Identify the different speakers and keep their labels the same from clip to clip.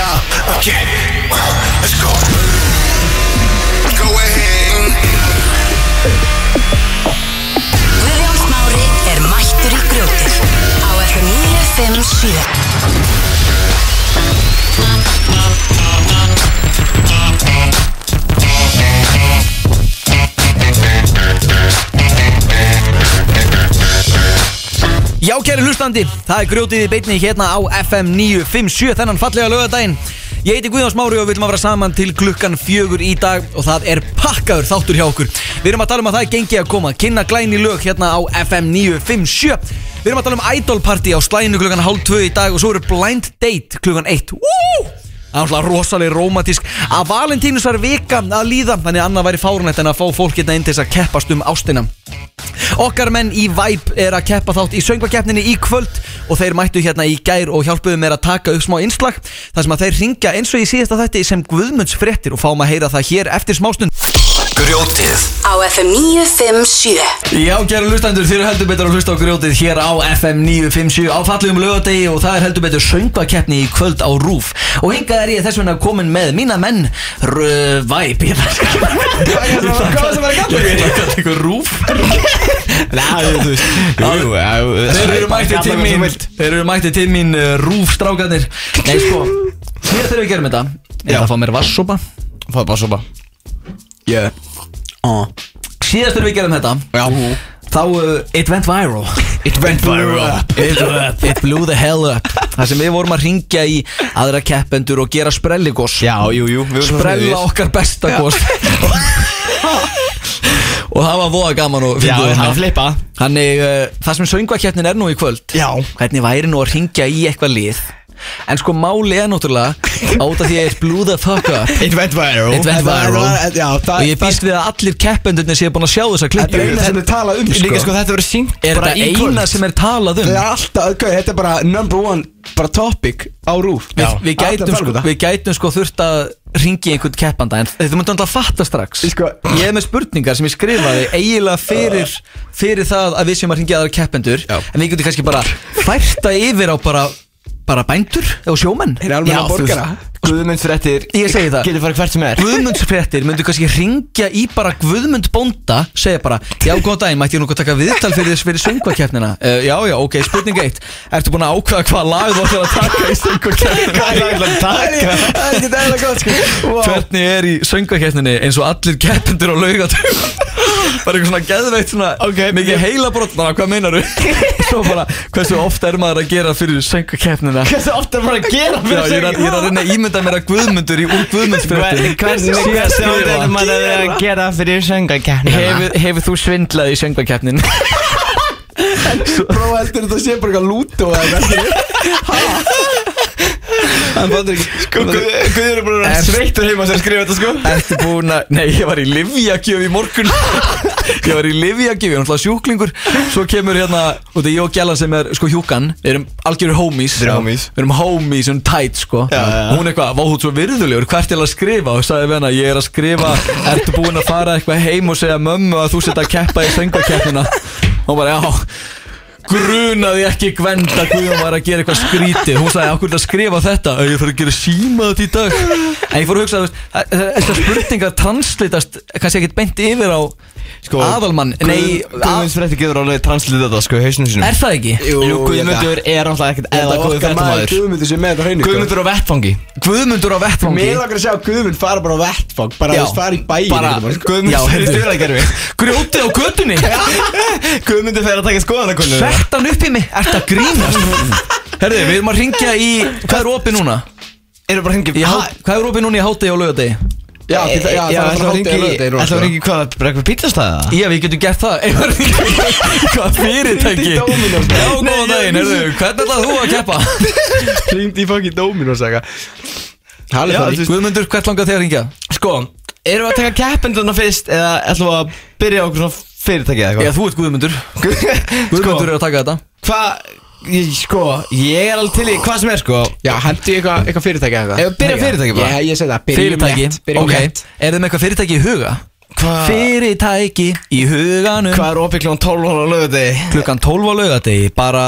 Speaker 1: Okay, let's go. Go ahead.
Speaker 2: Guðjón Smári er mættur í grjótið á FM 957
Speaker 3: Já, kæri hlustandi, það er grjótið í beinni hérna á FM 957 þennan fallega lögadaginn Ég heiti Guðjón Smári og við viljum að vera saman til klukkan fjögur í dag og það er pakkaður þáttur hjá okkur Við erum að tala um að það er gengið að koma, kynna glæni lög hérna á FM 957 Við erum að tala um Idol Party á slæðinu klukkan hálf tvö í dag og svo eru Blind Date klukkan eitt Woo! Það var alltaf rosalega romantísk að Valentínus var vika að líða þannig að annað væri fárunætt en að fá fólk hérna inn til þess að keppast um ástina Okkar menn í Vibe er að keppa þátt í söngvakeppninni í kvöld og þeir mættu hérna í gær og hjálpuðu mér að taka upp smá innslag þar sem að þeir ringja eins og í síðasta þætti sem Guðmundsfréttir og fáum að heyra það hér eftir smástund
Speaker 1: Grjótið
Speaker 2: á FM 957
Speaker 3: Já, kæra hlustandur, þið eru heldur betur að hlusta á grjótið hér á FM 957 á fallegum lögadegi og það er heldur betur söngvakeppni í kvöld á RÚF og hingað er ég þess vegna komin með mína menn Rvæp Ég veit ekki
Speaker 4: Hvað sem var að kalla
Speaker 3: Ég ætla að kalla ykkur RÚF
Speaker 4: Nei, þú veist Jú, jú, já,
Speaker 3: Þeir eru mættið til
Speaker 4: Kallar mig
Speaker 3: mín
Speaker 4: svo vilt.
Speaker 3: Þeir eru mættið til mín uh, RÚF strákanir Nei, sko, hér þurfum við að gera með þetta Ég ætla að fá mér vassopa
Speaker 4: Fáðu bara sopa Yeah
Speaker 3: Síðast þurfum við að gera með þetta
Speaker 4: Já
Speaker 3: Þá, uh, it went viral
Speaker 4: It went viral
Speaker 3: It, up, it blew the hell up Það sem við vorum að ringja í aðra keppendur og gera sprelligos
Speaker 4: Já, jú, jú við vorum
Speaker 3: Sprella
Speaker 4: svona
Speaker 3: okkar besta gos Og það var voða gaman og
Speaker 4: Já,
Speaker 3: fyndið
Speaker 4: það
Speaker 3: þarna.
Speaker 4: flippa
Speaker 3: Þannig, uh, það sem söngvakeppnin er nú í kvöld
Speaker 4: Já.
Speaker 3: Hvernig væri nú að ringja í eitthvað lið En sko máli er náttúrulega Áta því að ég er blew the fuck up
Speaker 4: It went viral
Speaker 3: It went
Speaker 4: En það-
Speaker 3: viral.
Speaker 4: en- Já,
Speaker 3: Og
Speaker 4: það
Speaker 3: ég býst við að allir keppendurnir séu búin að sjá þessa
Speaker 5: Þetta
Speaker 3: klippu
Speaker 5: er eina sem er talað um
Speaker 4: Líka
Speaker 5: sko
Speaker 4: sko þetta verið syngt
Speaker 3: Er
Speaker 4: bara
Speaker 3: þetta
Speaker 4: í
Speaker 3: eina
Speaker 4: kvöld.
Speaker 3: sem er talað um?
Speaker 5: Það er alltaf, gau, þetta er bara number one Bara topic á rúf
Speaker 3: Við, við, gætum, sko,
Speaker 5: sko
Speaker 3: við gætum sko þurft að ringi einhvern keppanda en þetta myndi alltaf fatta strax
Speaker 5: Ég sko-
Speaker 3: Ég er með spurningar sem ég skrifaði eiginlega fyrir, fyrir það að við séum að ringja aðra keppendur
Speaker 4: Já.
Speaker 3: en við getum kannski bara færta yfir á bara, bara bændur og sjómenn
Speaker 5: Þeir eru alveg
Speaker 4: Já,
Speaker 5: að
Speaker 4: þú
Speaker 5: borgara
Speaker 4: veist, Guðmundsfréttir
Speaker 3: Ég segi það.
Speaker 4: Getur farið hvert sem er
Speaker 3: Guðmundsfrettir myndu kannski ringja í bara Guðmund Bónda segja bara, já góðan daginn, mætti ég nokkuð taka viðtal fyrir þess fyrir söngvakeppnina uh, Já, já, ok, spurning 1 Ertu búin að ákveða hvað lag þú ætlar að taka í söngvakeppnina?
Speaker 4: Það er alltaf takk
Speaker 5: Það er ekki eðla gott sko Vá.
Speaker 3: hvernig er í söngvakeppninni eins og allir keppendur á laugatum bara eitthvað svona geðveitt svona
Speaker 4: Ok,
Speaker 3: mikið
Speaker 4: ég-
Speaker 3: heila brotna, hvað meinaru svo bara, hversu ofta er maður að gera fyrir söngvakeppnina já,
Speaker 4: Hversu oft er maður að gera
Speaker 3: ég er, að, ég er að reyna að ímynda mér að Guðmundur í úr Guðmundsfjöldi
Speaker 4: Hvernig er maður að gera fyrir söngakeppnina
Speaker 3: hefur, hefur þú svindlað í söngvakeppnin
Speaker 5: Prófa heldur þetta sé bara eitthvað lútu og það Hann fattur ekki sko
Speaker 4: Guður er bara
Speaker 3: Er-
Speaker 4: sveittur heima sem skrifa þetta sko
Speaker 3: Ertu búin að, nei ég var í livjakjöf í morgun Ég var í livjakjöf, ég var náttúrulega sjúklingur Svo kemur hérna, og það er ég og Gjallan sem er sko hjúkan Við erum algjörur homies
Speaker 4: Þið eru homies.
Speaker 3: Við erum homies um tight sko
Speaker 4: Já, já, já.
Speaker 3: Og Hún eitthvað, vá þú ert svo virðulegur, hvert er að skrifa Og sagði við hana, ég er að skrifa Ertu búin að fara eitthvað heim og segja mömmu að þú setja að keppa í söngakeppnina Hún bara, já grunaði ekki Gvend að Guðjón var að gera eitthvað skrítið hún sagði okkur að skrifa þetta að ég fyrir að gera síma þetta í dag en ég fór að hugsa þú veist, að þessar spurningar translítast kannski ekkert beint yfir á
Speaker 4: Sko,
Speaker 3: aðalmann nei, að,
Speaker 4: Guðmundsfréttir getur alveg translið þetta sko í hausnum sínum
Speaker 3: er það ekki?
Speaker 4: Jú,
Speaker 5: Guðmundur
Speaker 4: Guðmundur er alltaf ekkert
Speaker 5: Það
Speaker 4: eða
Speaker 5: er
Speaker 4: góður
Speaker 5: okkar maður
Speaker 4: fréttamaður
Speaker 5: Guðmundur sem er með þetta á hreinu sko.
Speaker 4: Guðmundur á vettfangi
Speaker 3: Guðmundur á vettfangi
Speaker 5: Mér langar að sjá Guðmund fara bara á vettfang Bara
Speaker 3: Já.
Speaker 5: að fara í hérna bæin
Speaker 3: Bara- Já,
Speaker 4: Guðmundur
Speaker 3: heyrðu.
Speaker 4: fyrir stjórakerfi
Speaker 3: grjótið á götunni
Speaker 4: Guðmundur fer að taka skoðanakonu
Speaker 3: sett hann upp í mig, ert að grínast herði, við erum að ringja í hvað er opið núna?
Speaker 4: Eru bara hengi
Speaker 3: Í, há- hvað er opið núna í hátegi og lögadegi?
Speaker 5: Já,
Speaker 4: eh, Já, það
Speaker 5: það er
Speaker 4: er
Speaker 5: alltaf hátíð að lögða
Speaker 4: Það er hengi hvað, bara eitthvað pítastæða
Speaker 3: Já, við getum gert það Ef að ringja í- hvað fyrirtæki
Speaker 5: Í Dominos.
Speaker 3: já, góðan daginn, herðu, hvernig ætlað þú að keppa?
Speaker 5: Hringdi í fokki dómin og saga Halli
Speaker 4: Já,
Speaker 5: það
Speaker 4: þú veist-
Speaker 3: Guðmundur, hvert langar þig að ringja?
Speaker 4: Sko, eru við að taka keppendurna fyrst eða ætlum við að byrja á okkur svona fyrirtæki eða
Speaker 3: Já, þú ert Guðmundur
Speaker 5: Sko.
Speaker 4: eitthvað
Speaker 3: Guðmundur er að taka þetta
Speaker 4: Hvað, ég- sko, ég er alveg til í hvað sem er sko
Speaker 5: Já, hendi eitthvað eitthvað fyrirtæki eða
Speaker 4: Ef við byrja fyrirtæki bara?
Speaker 5: Já, ég segi það, byrjum
Speaker 3: Fyrirtæki,
Speaker 5: létt, byrjum Ah.
Speaker 3: ok
Speaker 5: létt.
Speaker 3: Er þið með eitthvað fyrirtæki í huga?
Speaker 4: Hva-
Speaker 3: Fyrirtæki í huganum
Speaker 4: Hvað er opið klón 12 hóla lögði?
Speaker 3: Klukkan 12 á laugadegi Bara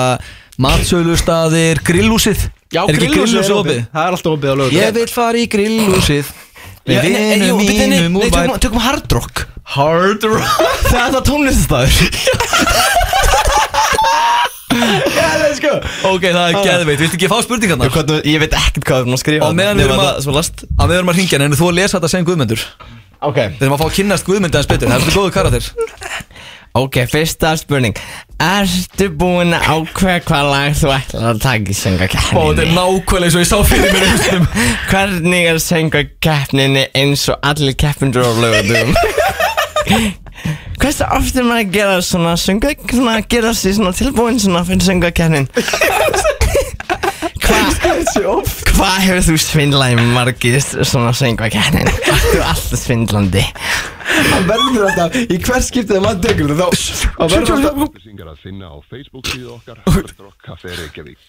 Speaker 3: matsölustaðir, grillúsið
Speaker 4: Já,
Speaker 3: Er ekki
Speaker 4: grillhúsið
Speaker 3: grillhúsið opið?
Speaker 4: Það er alltaf opið á lögur
Speaker 3: Ég vil fara í grillhúsið
Speaker 4: Við vinnum mínum úr
Speaker 5: tökum,
Speaker 4: bæ
Speaker 5: tökum hard rock
Speaker 4: Hard rock
Speaker 5: Það er það tónlistastæður
Speaker 3: Ok, það er geðveitt, viltu ekki fá spurningarnar?
Speaker 5: Ég veit ekkert hvað við erum að skrifa
Speaker 3: Og meðan við erum að-
Speaker 5: Svo last
Speaker 3: Að við erum að ringja henni, en þú að lesa þetta sem Guðmundur
Speaker 5: Ok
Speaker 3: Við erum að fá að kynnast Guðmundi hans betur, það er svo góðu karakter
Speaker 5: Ok, fyrsta spurning Ertu búin að ákveða hvað lag þú ætlar að taka í
Speaker 3: Ó, þetta er
Speaker 5: söngakeppninni?
Speaker 3: nákvæmlega eins og ég sá fyrir mér einhverstum
Speaker 5: Hvernig er söngakeppninni eins og allir keppindur á lögum? Hversu oft er maður að gera svona sönga, svona að gera sig svona tilbúin svona fyrir söngakeppnin? Hvað hva hefur þú svindlaði margist svona söngakeppnin? Þú er alltaf svindlandi
Speaker 4: Það verður alltaf Í hvers skiptið að maður tekur þetta þá Það verður alltaf
Speaker 6: upplýsingar að finna á Facebook síðu okkar Hardrock Café Reykjavík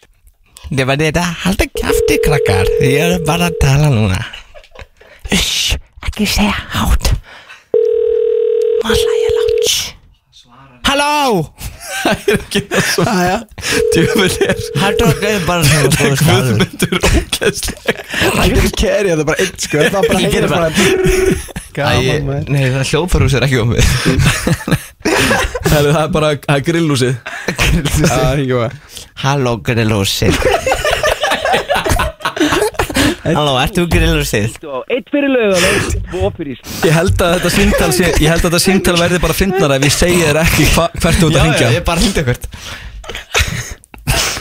Speaker 5: Þið var þetta, halda kæfti krakkar Ég er bara að tala núna Uss, ekki segja hátt Má hlæja látt Shh. Halló
Speaker 3: Það er ekki það svo
Speaker 5: Aja
Speaker 3: djöfur er
Speaker 5: Haldur okkar er bara svona góð staður
Speaker 3: Guðmundur ógeðsleg
Speaker 4: Það er kæri að það bara eitt sko Það bara
Speaker 5: Ég
Speaker 4: heyrir
Speaker 5: geri
Speaker 4: bara Gaman maður
Speaker 5: Nei, það hljóðfarhús er ekki opið
Speaker 3: Það er bara, það er grillhúsið
Speaker 4: Það er ekki maður
Speaker 5: Halló grillhúsið Halló, ert þú grillhúsið?
Speaker 3: Ég held að þetta síntal sé, ég held að þetta síntal verði bara fyndnara ef ég segi þér ekki hva, hvert þú ert að hringja
Speaker 5: bara hindi okkur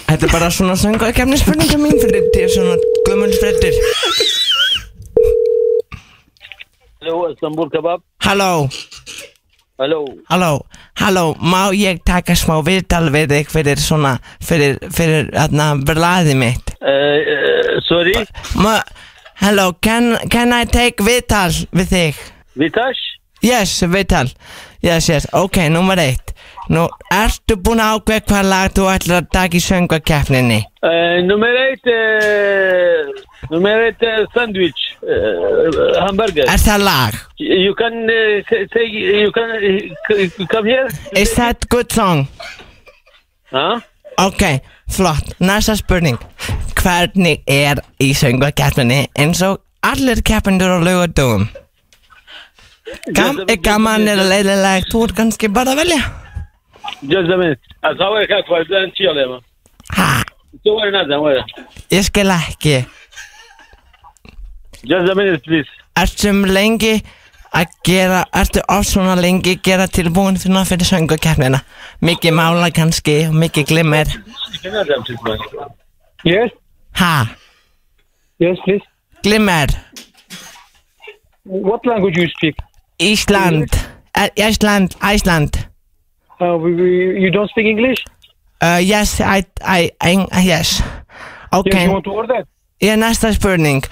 Speaker 5: Þetta er bara svona söngaðkefni spurninga mín fyrir til svona gömul frettir
Speaker 7: Halló, Istanbul Kebab.
Speaker 5: Halló
Speaker 7: Halló,
Speaker 5: Halló, halló, má ég taka smá viðtal við þig fyrir svona, fyrir, fyrir, hérna, blaðið mitt?
Speaker 7: uh, uh, sorry,
Speaker 5: Ma, halló, can, can I take viðtal við þig?
Speaker 7: Vitash.
Speaker 5: Yes, viðtal, yes, yes, ok, nummer eitt. Nú, ertu búin að ákveða hvað lag þú ætlar að taka í söngakeppninni?
Speaker 7: Uh, nummer eitt, uh, nummer eitt uh, sandwich, uh, hamburger.
Speaker 5: Er það lag?
Speaker 7: You can uh, say, say- you can uh, come here.
Speaker 5: Is that good song?
Speaker 7: Huh?
Speaker 5: Ok, flott, næsta spurning Hvernig er í söngakeppninni eins og allir keppendur á laugardögum? Gam, er gaman eða leiðilegt, þú ert kannski bara að velja
Speaker 7: Just a minute. Ah, أصورك أكبر لأن شيء عليهم.
Speaker 5: Ha,
Speaker 7: صور نادم ولا.
Speaker 5: ég skil ekki
Speaker 7: Just a minute please.
Speaker 5: Ertu um lengi að gera, ertu oft svona lengi að gera tilbúin þína fyrir söngakeppnina? Mikið mála kannski, og mikið glimmer
Speaker 7: نادم تسمع. Yes,
Speaker 5: Ha,
Speaker 7: yes please.
Speaker 5: glimmer,
Speaker 7: What language you speak?
Speaker 5: Ísland, E, Ísland, Ísland
Speaker 7: Uh, we, we, you don't speak English?
Speaker 5: Uh, yes, I, I, I, yes Ok,
Speaker 7: to order?
Speaker 5: ég er næsta spurning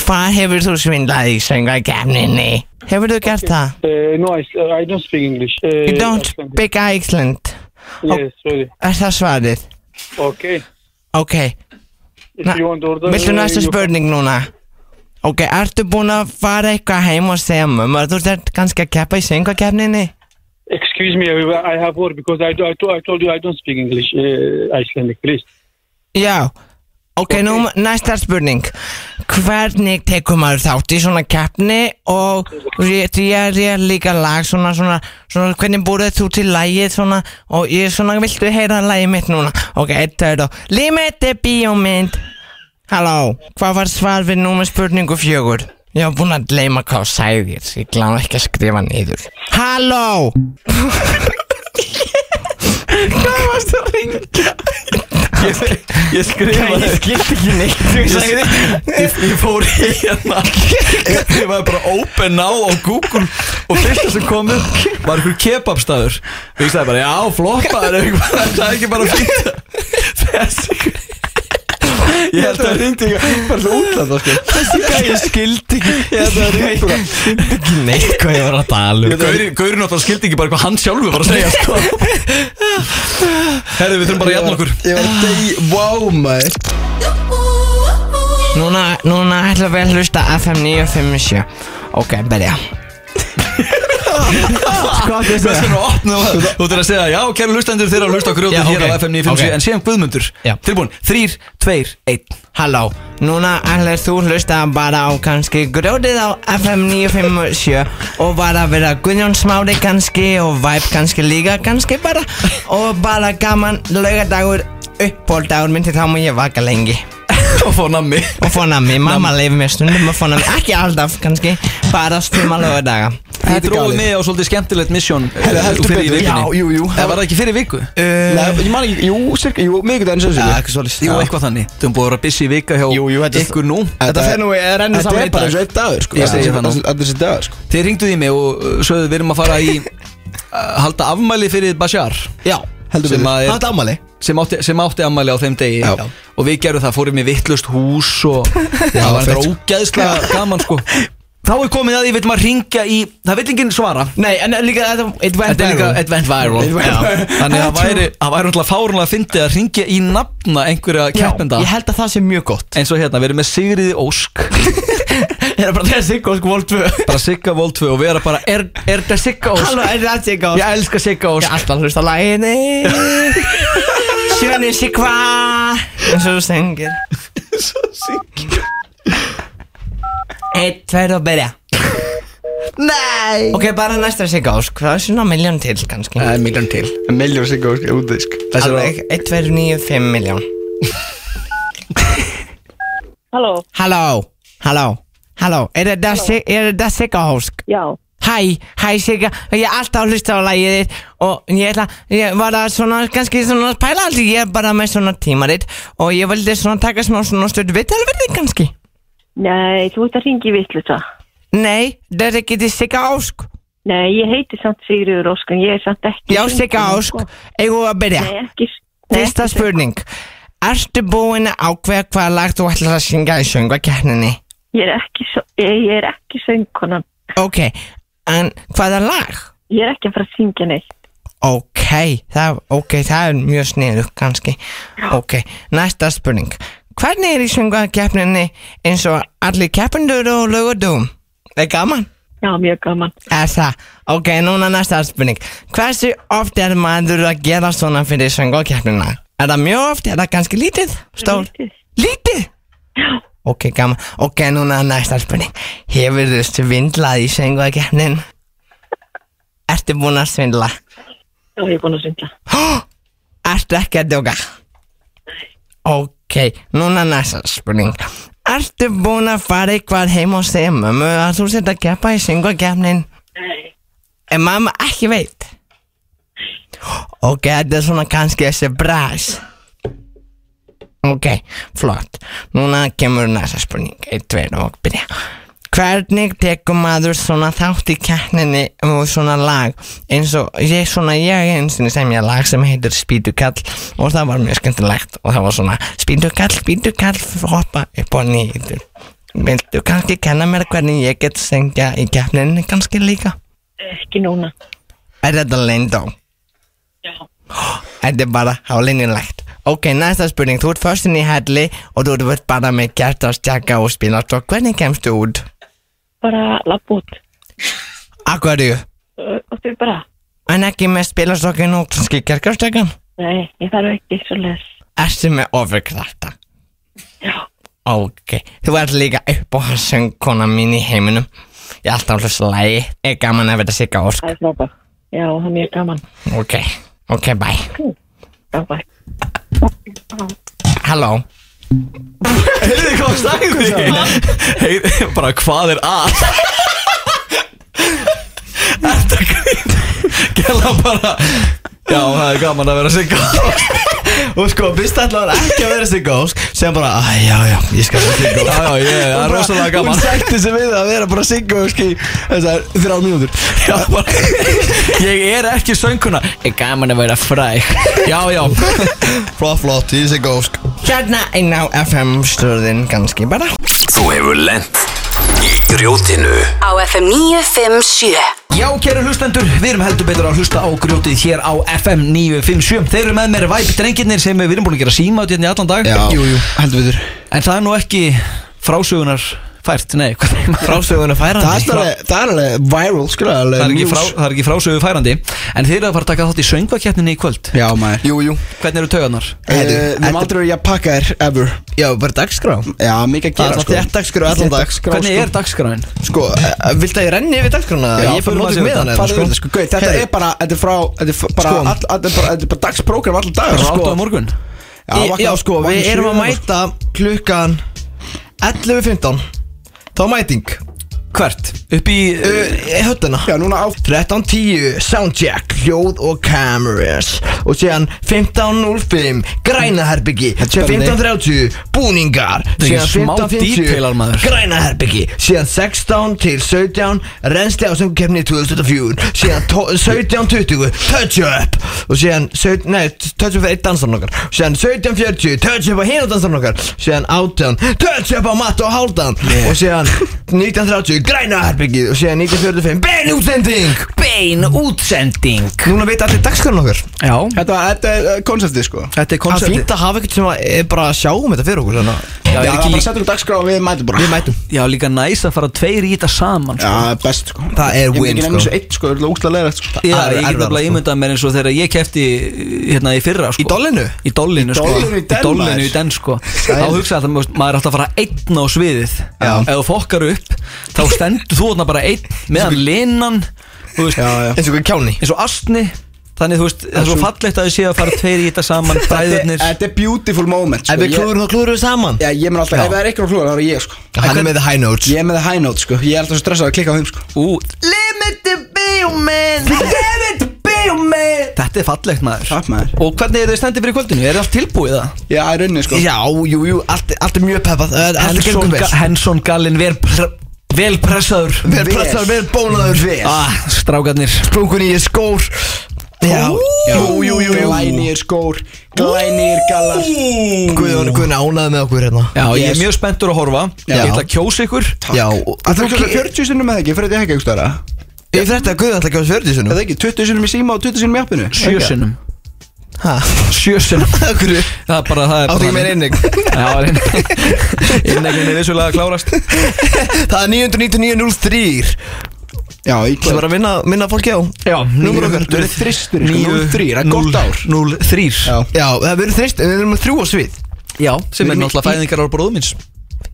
Speaker 5: Hvað hefur þú svindlað í söngarkefninni? Hefur þú gert það?
Speaker 7: Uh, no, I, I don't speak English. Uh,
Speaker 5: You don't speak Iceland
Speaker 7: Yes, sorry.
Speaker 5: Er það svarið?
Speaker 7: Okay.
Speaker 5: Ok,
Speaker 7: If
Speaker 5: Na-
Speaker 7: you want order,
Speaker 5: viltu
Speaker 7: uh,
Speaker 5: næsta
Speaker 7: you-
Speaker 5: spurning núna? Ok, ertu búin að fara eitthvað heim og segja mömmu að þú ert kannski að keppa í söngarkefninni?
Speaker 7: Excuse me, I I have work because I, do- I, do- I told you I don't speak English, uh, Icelandic, please.
Speaker 5: Já, ok, nú næsta spurning Hvernig tekur maður þátt í svona keppni og ég, því að ég er líka lag svona, svona, svona, hvernig búrið þú til lagið svona og ég er svona, viltu heyra lagið mitt núna? Ok, eitt, tveir og Limit er bíómynd Halló, hvað var svar við númer spurningu fjögur? Ég var búin að gleyma hvað þú sagðir, ég glám ekki að skrifa niður Halló Hvað varst að ringa?
Speaker 3: Ég skrifa
Speaker 5: Ég skildi ekki neitt þú sagði
Speaker 3: Ég, ég fór í hérna Ég skrifaði bara open now á Google Og fyrsta sem kom upp var einhver kebabstaður Og ég sagði bara, já, floppaður eitthvað, Það er ekki bara fínt Þessi Ég held að það ringdi ekki bara svo útlanda sko.
Speaker 5: Ég skildi ekki
Speaker 3: Ég held að það ringdi bara
Speaker 5: skildi ekki neitt hvað ég var að tala um
Speaker 3: Gaurin náttúrulega skildi ekki bara hvað hann sjálfur var að segja sko. Herðu, við þurfum bara að jæfna okkur
Speaker 4: Ég var að degi Wow maður
Speaker 5: Núna, núna ætla við að hlusta FM 957 Ok, byrja Hvað þú
Speaker 3: Þú
Speaker 5: segja?
Speaker 3: ætlar að opna og- þú ætlar að segja Já, kæru hlustendur, þeir eru að hlusta á grjótið
Speaker 5: Já,
Speaker 3: hér
Speaker 5: ok.
Speaker 3: á FM 957
Speaker 5: Ok.
Speaker 3: En síðan Guðmundur,
Speaker 5: Já.
Speaker 3: tilbúin, 3, 2, 1
Speaker 5: Halló, núna ætlar þú hlusta bara á kannski grótið á FM 957 og bara vera Guðjón Smári kannski og Væp kannski líka kannski bara og bara gaman laugadagur uppbóldagur minn til þá má ég vaka lengi
Speaker 3: Og fór nammi
Speaker 5: og fá nami, mamma leifir mér stundum og fá nami, ekki alltaf kannski bara stundum að laugadaga
Speaker 3: Þið
Speaker 8: Þetta er
Speaker 3: dróðu
Speaker 8: galið.
Speaker 3: mig á svolítið skemmtilegt misjón
Speaker 8: Herðu, heldur
Speaker 3: fyrir í
Speaker 8: betur.
Speaker 3: vikunni
Speaker 8: Já, jú, jú. Eh,
Speaker 3: Það var það ekki fyrir viku
Speaker 8: Nei, ég man ekki, jú, cirka, jú, mikið enn sem
Speaker 4: Já,
Speaker 8: sem
Speaker 5: Ah,
Speaker 4: eitthvað svolítið
Speaker 3: Jú, eitthvað þannig Þú erum búið að vera busy vika
Speaker 4: Jú,
Speaker 3: hjá
Speaker 4: jú, þetta er-
Speaker 3: ykkur nú
Speaker 4: Þetta fer nú, er enn
Speaker 8: Þetta
Speaker 4: saman
Speaker 8: er
Speaker 4: í
Speaker 8: bara
Speaker 4: dag
Speaker 8: eins og einn dagur, sko
Speaker 3: Ég segi það nú.
Speaker 8: Þetta er þessi dagur, sko
Speaker 3: Þið ringduð í mig og uh, sögðu við erum að fara í að halda afmæli fyrir Bashar
Speaker 4: Já
Speaker 8: Heldur
Speaker 3: sem,
Speaker 8: betur.
Speaker 4: Það er
Speaker 3: að er,
Speaker 4: ámali
Speaker 3: sem, átti, sem átti afmæli á þeim degi
Speaker 8: Já.
Speaker 3: og við gerum það, fórum í vittlust hús og
Speaker 8: Já,
Speaker 3: það var
Speaker 8: fett,
Speaker 3: þetta
Speaker 8: sko.
Speaker 3: ógeðslega gaman sko Þá er komið að því við veitum að ringja í það vill enginn svara
Speaker 4: Nei, en líka þetta It went
Speaker 3: Þetta er líka,
Speaker 4: viral
Speaker 3: it went viral
Speaker 8: It went
Speaker 3: Já.
Speaker 8: viral.
Speaker 3: Þannig að það væri, það væri alltaf fárunlega fyndið að ringja í nafna einhverja
Speaker 4: Já,
Speaker 3: keppenda
Speaker 4: Ég held að það sé mjög gott
Speaker 3: eins og hérna, við erum með Sigriði Ósk
Speaker 4: Ég er bara þessi ykkur sko vol 2
Speaker 3: bara Sigga Vol 2 og við erum bara er, er þetta Sigga Ósk?
Speaker 4: Halló, er það sé
Speaker 3: Ég
Speaker 4: gott
Speaker 3: elska
Speaker 4: Ég
Speaker 3: Sigga
Speaker 4: er
Speaker 3: Ósk
Speaker 4: alltaf að hlusta á læginni
Speaker 5: Sjöni sig hvað eins og þú syngir Svo syngir Eitt, tveir og byrja Nei Ok, bara næsta sig ásk Það er svona miljón til kannski
Speaker 8: Það er miljón til Miljón sig góð, út af sko Þessi er
Speaker 5: Alveg, eitt, tveir, níu, fimm miljón
Speaker 9: Halló,
Speaker 5: Halló, halló, halló Er þetta sig- er þetta sig ásk?
Speaker 9: já,
Speaker 5: Hæ, hæ Sigga, ég er alltaf að hlusta á lagið þitt og ég ætla, ég var að svona, kannski svona að pæla allt, ég er bara með svona tímarit og ég vildi svona taka smá svona stöld viðtalverði kannski.
Speaker 9: nei, þú ert að ringi vitluta.
Speaker 5: Nei, þetta er ekki til Sigga Ásk.
Speaker 9: Nei, ég heiti samt Sigriður Ósk, en ég er samt ekki...
Speaker 5: Já,
Speaker 9: sundkona,
Speaker 5: Sigga Ásk,
Speaker 9: sko.
Speaker 5: eigum við að byrja.
Speaker 9: Nei, ekki... nei,
Speaker 5: Fyrsta
Speaker 9: ekki-
Speaker 5: spurning, ertu búin að ákveða hvaða lag þú ætlar að syngja í söngvakerninni?
Speaker 9: Ég er ekki, svo- ég ég er ekki söngkonan,
Speaker 5: Ok, en hvaða lag?
Speaker 9: ég er ekki að fara að syngja neitt.
Speaker 5: Ok, það, ok, það er mjög sniðu kannski Ok, næsta spurning Hvernig er í söngakeppninni eins og allir keppendur og lögudum? Er gaman?
Speaker 9: Já, mjög gaman.
Speaker 5: Er það? Ok, núna næsta spurning Hversu oft er maður að gera svona fyrir söngakeppnina? Er það mjög oft? Er það kannski lítið? Stór?
Speaker 9: Lítið.
Speaker 5: Lítið? Ok, gaman Ok, núna næsta spurning Hefur þú svindlað í söngakeppnin? Ertu búin að svindla?
Speaker 9: Já, ég er búin að syngja.
Speaker 5: Ertu ekki að djóka? Ok, núna næsta spurning Ertu búin að fara eitthvað heim og segja mömmu að þú sett að keppa í syngvakefnin?
Speaker 9: Nei,
Speaker 5: En mamma ekki veit Ok, þetta er svona kannski þessi bræs Ok, flott Núna kemur næsta spurning Eitt, tveir og byrja Hvernig tekur maður svona þátt í kækninni og svona lag eins og ég svona ég eins og sem ég lag sem heitir Spýtukall og það var mjög skemmtilegt og það var svona Spýtukall, Spýtukall hoppa upp og nýður Viltu kannski kenna mér hvernig ég get sengja í kækninni kannski líka?
Speaker 9: ekki núna.
Speaker 5: Er þetta leyndó?
Speaker 9: Já.
Speaker 5: Þetta er bara hálinnilegt Ok, næsta spurning, þú ert förstin í helli og þú ert bara með gertastjaka og spilast og hvernig kemst þú út?
Speaker 9: Bara lapp út.
Speaker 5: Akvarju,
Speaker 9: Ö, Og þau bara,
Speaker 5: en ekki með spilastokkin og kannski gertastjakan
Speaker 9: nei, ég þarf ekki svo les.
Speaker 5: Ertu með ofurkrafta?
Speaker 9: Já,
Speaker 5: Ok, þú ert líka upp á söngkona mín í heiminum Ég er alltaf hlust lægi, er gaman að vera sigga ork
Speaker 9: það er frábært. Já, það er mjög gaman.
Speaker 5: Ok, ok, bye
Speaker 9: Frábært.
Speaker 5: Halló
Speaker 3: Heyrðu hvað sagði Heyrðu bara hvað er að Þetta grýn Gjalla bara Já, það er gaman að vera sigga
Speaker 4: Og sko, fyrst ætlaði hann ekki að vera sig gósk Segðan bara, "Æ, já, já, ég skal vera sig gósk
Speaker 3: Já, já, ég, það er rosalega
Speaker 8: Hún
Speaker 3: gaman
Speaker 8: sætti sig við að vera bara sig góð Ski þessar þrjá mínútur
Speaker 3: já, bara, Ég er ekki sönguna Ég er gaman að vera fræk Já, já
Speaker 8: Flott, flott, ég sig góð sko
Speaker 5: Hérna inn á FM stöðin kannski bara
Speaker 1: Þú hefur lent í grjótinu
Speaker 2: Á FM 957
Speaker 3: Já, kæru hlustendur, við erum heldur betur að hlusta á grjótið hér á FM 957 Þeir eru með mér væp drengirnir sem við erum búin að gera síma út hérna í allan dag
Speaker 8: Jú, jú, heldur við þur
Speaker 3: En það er nú ekki frásögunar fært, nei, hvað segir maður?
Speaker 4: Frásögun að færa
Speaker 8: Það er alveg, það er alveg viral, sko alveg
Speaker 3: Það er, ekki
Speaker 8: news.
Speaker 3: frá, það er ekki frásögu færandi En þið eru að fara að taka þátt í söngvakeppninni í kvöld
Speaker 8: Já, maður
Speaker 10: Jú, jú
Speaker 3: Hvernig eru taugarnar?
Speaker 8: Heyrðu, Við erum
Speaker 10: þetta-
Speaker 8: aldrei verið að pakka þér, ever
Speaker 4: Já, bara dagskrá
Speaker 8: Já, mikið að gera,
Speaker 4: Það er alltaf
Speaker 8: sko
Speaker 4: þétt dagskrá, allan dag
Speaker 3: Hvernig er dagskráin?
Speaker 8: Sko,
Speaker 4: Eh, Viltu að ég renni yfir dagskrána?
Speaker 8: Já,
Speaker 4: Ég fyrir
Speaker 8: förum
Speaker 4: mótið
Speaker 8: aðeins
Speaker 4: með
Speaker 8: yfir
Speaker 4: hann
Speaker 8: það. Farðu yfir þetta, sko, gauð, Þetta
Speaker 4: Heyrðu.
Speaker 8: er bara, þetta er frá Þetta er f- bara,
Speaker 4: Sko.
Speaker 8: all- all- þetta er bara, þetta er bara dagsprogram allan dag sko.
Speaker 3: Bara áttu á morgun
Speaker 8: Já, vakna, sko, vakna
Speaker 4: Við
Speaker 8: sjö,
Speaker 4: erum að
Speaker 8: sko.
Speaker 4: mæta klukkan 11.15 Þá er mæting
Speaker 3: Hvert? Upp í
Speaker 8: Eh,
Speaker 4: uh, Höttina
Speaker 8: Já, núna á
Speaker 4: 13.10 Soundcheck, hljóð og kameras Og síðan 15.05 Grænaherbyggi Síðan
Speaker 8: spennandi.
Speaker 4: 15.30 Búningar
Speaker 3: er ekki
Speaker 4: Síðan
Speaker 3: smá
Speaker 4: 15.50
Speaker 3: detailar, maður.
Speaker 4: Grænaherbyggi Síðan 16 til 17 Rensli á sem kemni 2004 Síðan tó- 17.20 Touch up Og síðan 17, Nei, touch up er eitt dansan okkar Síðan 17.40 Touch up á hinn og dansan okkar Síðan 18 Touch up á Matt og Háldan Og síðan 19.30 Grænaherbyggi Og síðan 19.45 Bein útsending
Speaker 3: Bein útsending
Speaker 4: Núna veit allir dagskann okkar
Speaker 3: Já,
Speaker 8: Þetta þetta er uh, konseptið, sko
Speaker 3: þetta er
Speaker 4: Það er
Speaker 3: konceptið
Speaker 4: fínt að hafa eitthvað sem að er bara að sjá um þetta fyrir okkur svona.
Speaker 8: Já,
Speaker 3: Já, er
Speaker 8: það
Speaker 3: ekki
Speaker 8: er bara
Speaker 3: líka-
Speaker 8: settur um dagskrá og við mætum bara
Speaker 4: Við mætum
Speaker 3: Já, líka næs að fara tveir í þetta saman
Speaker 8: Já,
Speaker 3: sko.
Speaker 8: það er best, sko
Speaker 4: Það er
Speaker 8: Ég myndi
Speaker 4: win,
Speaker 8: ekki
Speaker 4: sko.
Speaker 8: nefnir svo eitt, sko, það er úslega leðrætt, sko
Speaker 4: það er
Speaker 3: Já, ég get
Speaker 4: erfiðara,
Speaker 3: nefnilega
Speaker 4: sko.
Speaker 3: ímyndað mér eins og þegar ég kefti hérna í fyrra sko.
Speaker 4: Í dollinu?
Speaker 3: Í dollinu, sko.
Speaker 8: dollinu í den,
Speaker 3: Í dollinu í
Speaker 8: maður.
Speaker 3: den, sko Þá hugsaði að maður maður er alltaf að fara einn á sviðið Já Ef þú fokkar upp, þá stendur þú þarna bara einn meðan linan, þú veist,
Speaker 4: Eins og hvað kjáni
Speaker 3: eins og astni Þannig, þú veist, það er svo fallegt að þið séu að fara tveir í þetta saman
Speaker 8: Þetta
Speaker 3: Bræðurnir
Speaker 8: þetta er beautiful moment, sko
Speaker 4: Ef við
Speaker 8: Ég-
Speaker 4: klúðurum þá klúðurum við saman
Speaker 8: Já, ég mun alltaf, ef það er eitthvað klúður, þá er ég, sko
Speaker 4: Hann er með the high notes
Speaker 8: Ég er með high note, sko Ég er alltaf svo stressað að klikka á þeim, sko
Speaker 3: Ú, Limited Billman Limited Billman Þetta er fallegt maður
Speaker 8: Takk, maður.
Speaker 3: Og hvernig er þið stendið fyrir kvöldinu? Er allt tilbúið það?
Speaker 8: Já, í rauninni, sko
Speaker 4: Já, jú, jú, allt, allt er mjög peppað Það er- Allt er
Speaker 3: Henson,
Speaker 4: gengum
Speaker 3: Ga-
Speaker 4: vel
Speaker 3: Henson Gallin vel, pr vel pressaður
Speaker 4: Vel pressaður, vel bónaður
Speaker 8: Vel.
Speaker 3: ah, Strákarnir
Speaker 4: Sprungun í þér skór Já, jú, jú, jú, jú
Speaker 8: Glænir skór, glænir gallar
Speaker 4: Guðjón, Guðjón ánaði með okkur hérna
Speaker 3: Já, ég
Speaker 8: Yes.
Speaker 3: er mjög spenntur að horfa
Speaker 8: Já.
Speaker 3: Ég ætla að kjósa ykkur
Speaker 4: Já, og-
Speaker 8: Það er
Speaker 4: Ég
Speaker 8: ekki 40 sinnum eða ekki, fyrir þetta ekki eitthvað Það
Speaker 4: fyrir þetta að Guðjón ætla að gefa svörði
Speaker 8: er
Speaker 4: sinum
Speaker 8: ekki 20 sinnum í síma og 20 sinnum í appinu
Speaker 3: Sjö
Speaker 8: Ekki?
Speaker 3: sinnum
Speaker 4: Hæ?
Speaker 3: Sjö sinnum
Speaker 4: Akkur
Speaker 3: Það er bara það er
Speaker 4: Áttu ekki meira innig
Speaker 3: Já, það er einnig Innegin er vissulega að klárast
Speaker 4: Það er 999.03
Speaker 8: Já, í
Speaker 4: Það
Speaker 8: kvöld
Speaker 4: var að minna, minna fólki á
Speaker 3: Já,
Speaker 4: Númer okkar.
Speaker 8: Þú eru þristur, sko, 0-3, það er gott ár
Speaker 3: 0-3 Já,
Speaker 4: Já, það verður þrist, við erum að þrjú á svið
Speaker 3: sem er náttúrulega fæðingar á bróðumins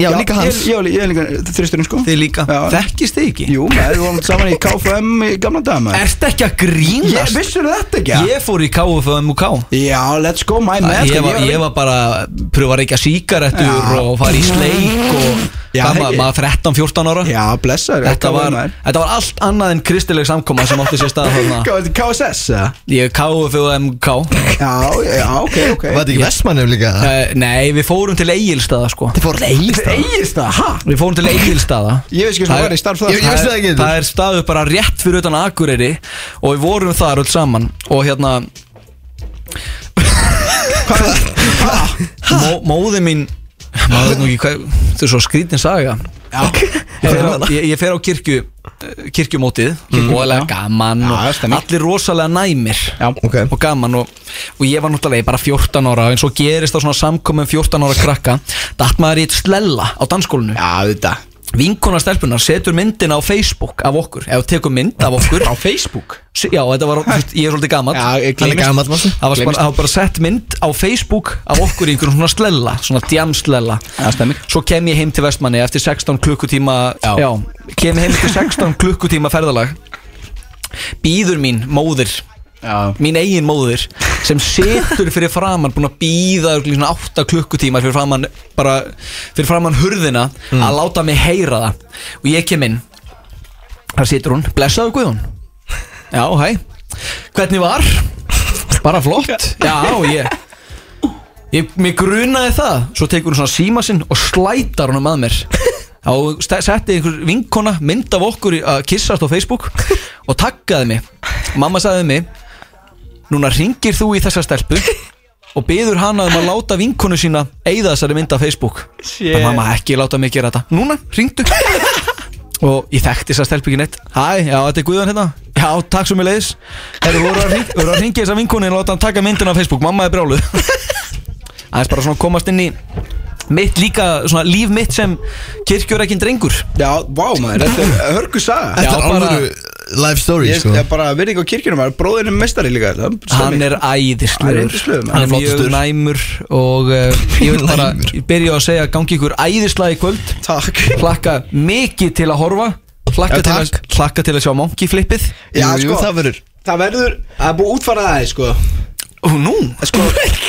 Speaker 4: Já, líka hans
Speaker 8: Ég ég- ég er líka þristurinn, sko
Speaker 3: Þið líka
Speaker 8: Já.
Speaker 3: Þekkist þið ekki?
Speaker 8: Jú, maður, við vorum saman í KFM í gamla daga, maður
Speaker 3: Ertu ekki að
Speaker 8: Ég
Speaker 3: grínast?
Speaker 8: vissur þetta ekki að-
Speaker 3: Ég fór í KFMUK
Speaker 8: Já, let's go, my man
Speaker 3: Ég
Speaker 8: sko,
Speaker 3: var, ég var bara að pröfa að reykja síkarettur
Speaker 8: Já.
Speaker 3: og fara í sleik og
Speaker 8: Já,
Speaker 3: hvað maður
Speaker 8: hei.
Speaker 3: maður 13-14 ára
Speaker 8: Já, blessaður
Speaker 3: þetta,
Speaker 8: KFM,
Speaker 3: var,
Speaker 8: maður.
Speaker 3: þetta var allt annað en kristileg samkoma sem átti sér stað þarna
Speaker 8: Hvað, þetta er KSS, eða?
Speaker 3: Ég KFMUK
Speaker 8: Já, já, ok, ok
Speaker 4: Var þetta ekki Vestmannum líka?
Speaker 3: uh, Nei, við fórum til Egilstaða sko
Speaker 4: Þið fór leið
Speaker 8: Egilsta, ha?
Speaker 3: Við fórum til Egilstaða
Speaker 8: Ég veist ekki sem
Speaker 3: Það er-
Speaker 8: var í starf það
Speaker 4: Ég- ég- veist það
Speaker 3: er-
Speaker 4: ekki, þú.
Speaker 3: Það er staður bara rétt fyrir utan Akureyri og við vorum þar öll saman og hérna Mó, móði mín maður veit nú ekki hvað þetta er svo skrítin saga ég fer, á, ég, ég fer á kirkju kirkjumótið og alveg gaman og
Speaker 8: Mhm. Já, það er stemning.
Speaker 3: allir rosalega næmir
Speaker 8: Já, ok
Speaker 3: og gaman og, og ég var náttúrulega bara 14 ára og eins og gerist á svona samkomum 14 ára krakka datt maður í eitt slella á danskólinu
Speaker 8: Já, þetta
Speaker 3: vinkona stelpunar setur myndina á Facebook af okkur, ef þú tekur mynd af okkur á Facebook? Já, þetta var, ég er svolítið gammal
Speaker 8: Já, ég gleymist.
Speaker 4: gamall, manstu?
Speaker 3: Það var bara, það var bara sett mynd á Facebook af okkur í einhverjum svona slella, svona djamslella
Speaker 8: Já, stemmir.
Speaker 3: Svo kem ég heim til Vestmanni eftir 16 klukkutíma Já, kem heim til 16 klukkutíma ferðalag Býður mín móðir
Speaker 8: Já
Speaker 3: mín eigin móðir sem setur fyrir framann búin að býða örugglega í svona 8 klukkutíma fyrir framann bara fyrir framann hurðina að láta mig heyra það og ég kem inn þar situr hún, blessaðu Guðjón já, hæ, hvernig var? bara flott já, ég ég, mér grunaði það, svo tekur hún svona síma sinn og slætar hún að mér og st- setti einhver vinkona mynd af okkur í- að kyssast á Facebook og taggaði mig, mamma sagði mig núna ringir þú í þessa stelpu og byður hana um að láta vinkonu sína eigða þessari mynd af Facebook það mamma ekki láta mig gera þetta núna, ringdu og ég þekkti þessa stelpu ekki neitt hæ, já, þetta er Guðan hérna já, takk svo mér leiðis erum voru að, hring, voru að ringi þessa vinkonu og láta hann taka myndin af Facebook mamma er brjáluð aðeins bara svona komast inn í mitt líka, svona líf mitt sem kirkjurækin drengur
Speaker 8: Já, vá maður, þetta er hörgu saga
Speaker 3: Já,
Speaker 4: Þetta er
Speaker 3: bara-
Speaker 4: alveg life story
Speaker 8: Ég
Speaker 4: sko
Speaker 8: er bara virðing á kirkjunum maður, bróðin er mestari líka það
Speaker 3: Hann er
Speaker 8: Hann er
Speaker 3: æðislegur
Speaker 8: yndislegur, maður.
Speaker 3: Hann
Speaker 8: Hann
Speaker 3: er
Speaker 8: er
Speaker 3: mjög
Speaker 8: flottastur.
Speaker 3: næmur Og uh, ég vil bara
Speaker 4: Næmur.
Speaker 3: ég byrja á að segja Gangi ykkur æðislega í kvöld
Speaker 8: Takk
Speaker 3: Hlakka mikið til að horfa Hlakka,
Speaker 8: Já,
Speaker 3: til, að, hlakka til að sjá monkey flippið
Speaker 8: Já,
Speaker 4: Jú,
Speaker 8: sko,
Speaker 4: jú, það verður
Speaker 8: það verður Það er búið að útfara það aðeins, sko
Speaker 3: Og nú,
Speaker 8: Sko,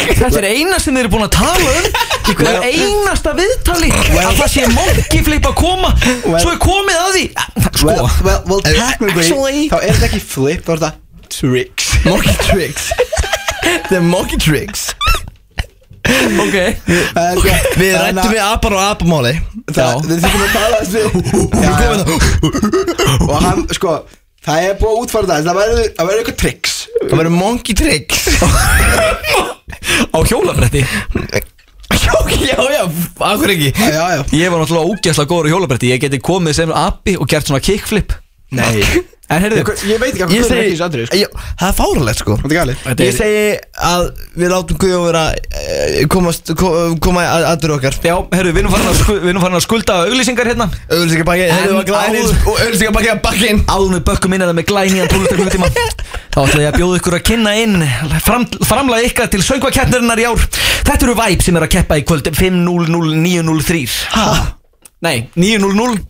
Speaker 3: þetta er eina sem þeir eru búin að tala um Í hverju einasta viðtali Að það sé monkey flip að koma Svo er komið að því Sko,
Speaker 8: well, well, well
Speaker 4: Eh,
Speaker 8: technically
Speaker 4: actually-
Speaker 8: Þá er þetta ekki flip, þá er þetta tricks
Speaker 4: Monkey tricks The monkey tricks
Speaker 3: ok
Speaker 8: Það er sko-
Speaker 4: Við
Speaker 8: þannig
Speaker 4: rættum
Speaker 8: að-
Speaker 4: við apar og apamáli
Speaker 8: það, Við þurfum að tala þessu Já, já.
Speaker 4: hérna.
Speaker 8: Og hann, sko Það er búið að útfara það, það verður, það verður eitthvað tricks
Speaker 4: Það verður monkey tricks
Speaker 3: Á hjólabretti
Speaker 4: Já, já, já, akkur ekki
Speaker 8: Já, já, já
Speaker 3: Ég var náttúrulega ógæslega góður á hjólabretti Ég geti komið sem api og gert svona kickflip
Speaker 8: Nei
Speaker 3: En heyrðu,
Speaker 8: Ég veit ekki hvað
Speaker 4: Ég
Speaker 8: er
Speaker 4: segi
Speaker 8: ekki þessu andri
Speaker 4: Já, Það er fáralegt sko
Speaker 8: Þetta er galið
Speaker 3: Þetta
Speaker 4: Ég
Speaker 3: er-
Speaker 4: segi að við látum Guðjón vera eh, komast, ko- koma að aðdur okkar
Speaker 3: Já, herru, við erum farin að, sku, við erum farin að skulda auglýsingar hérna
Speaker 4: Öðlýsingabakki,
Speaker 3: En
Speaker 4: hefðu að glænir
Speaker 3: áður-
Speaker 4: og öðlýsingabakki að bakkin
Speaker 3: Áðun við bökkum inn að það með glænían tónlistaklutíma Þá ætla ég að bjóða ykkur að kynna inn fram, Framlega ykkar til söngvakeppnarinnar í ár Þetta eru Væp sem er að keppa í kvöld 500903 Hæ? Nei, 900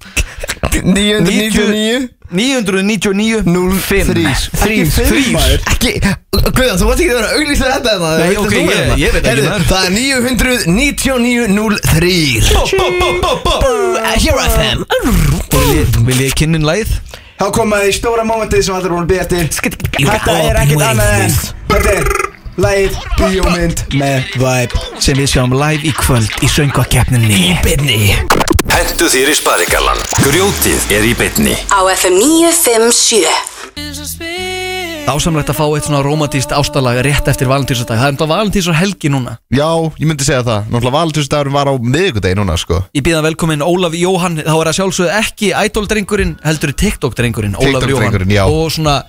Speaker 4: 999
Speaker 3: 999
Speaker 4: Þrýr
Speaker 3: 3 3
Speaker 4: Ekki, Guðjón, þú varst ekki að vera að auglýsa þetta þarna,
Speaker 3: Nei,
Speaker 4: vildir
Speaker 3: ok,
Speaker 4: þú
Speaker 3: ég-
Speaker 4: vera þarna?
Speaker 3: ég veit ekki,
Speaker 4: Heyrðu,
Speaker 3: maður.
Speaker 4: Það er 999.03 Here I am
Speaker 3: Vil ég kynna inn lagið?
Speaker 8: Þá komaði í stóra mómentið sem allir voru að byggja eftir Þetta er ekkert annað en Þetta er Læð Bíómynd með Vibe
Speaker 3: Sem við sjáum live í kvöld í söngvakeppninni Í byrni
Speaker 1: Hentu þér í sparigallan Grjótið er í bytni
Speaker 2: Á FM 957
Speaker 3: Ásamlegt að fá eitt svona romantíst ástalag rétt eftir valentínsardag Það er enda valentínsar helgi núna
Speaker 10: Já, ég myndi segja það Náttúrulega valtúrstafurinn var á miðvikudegi núna sko
Speaker 3: Ég býða velkominn Ólaf Jóhann Þá er að sjálfsögðu ekki Idol-drengurinn heldur TikTok-drengurinn Ólaf Jóhann
Speaker 10: TikTok-drengurinn, já.
Speaker 3: Og svona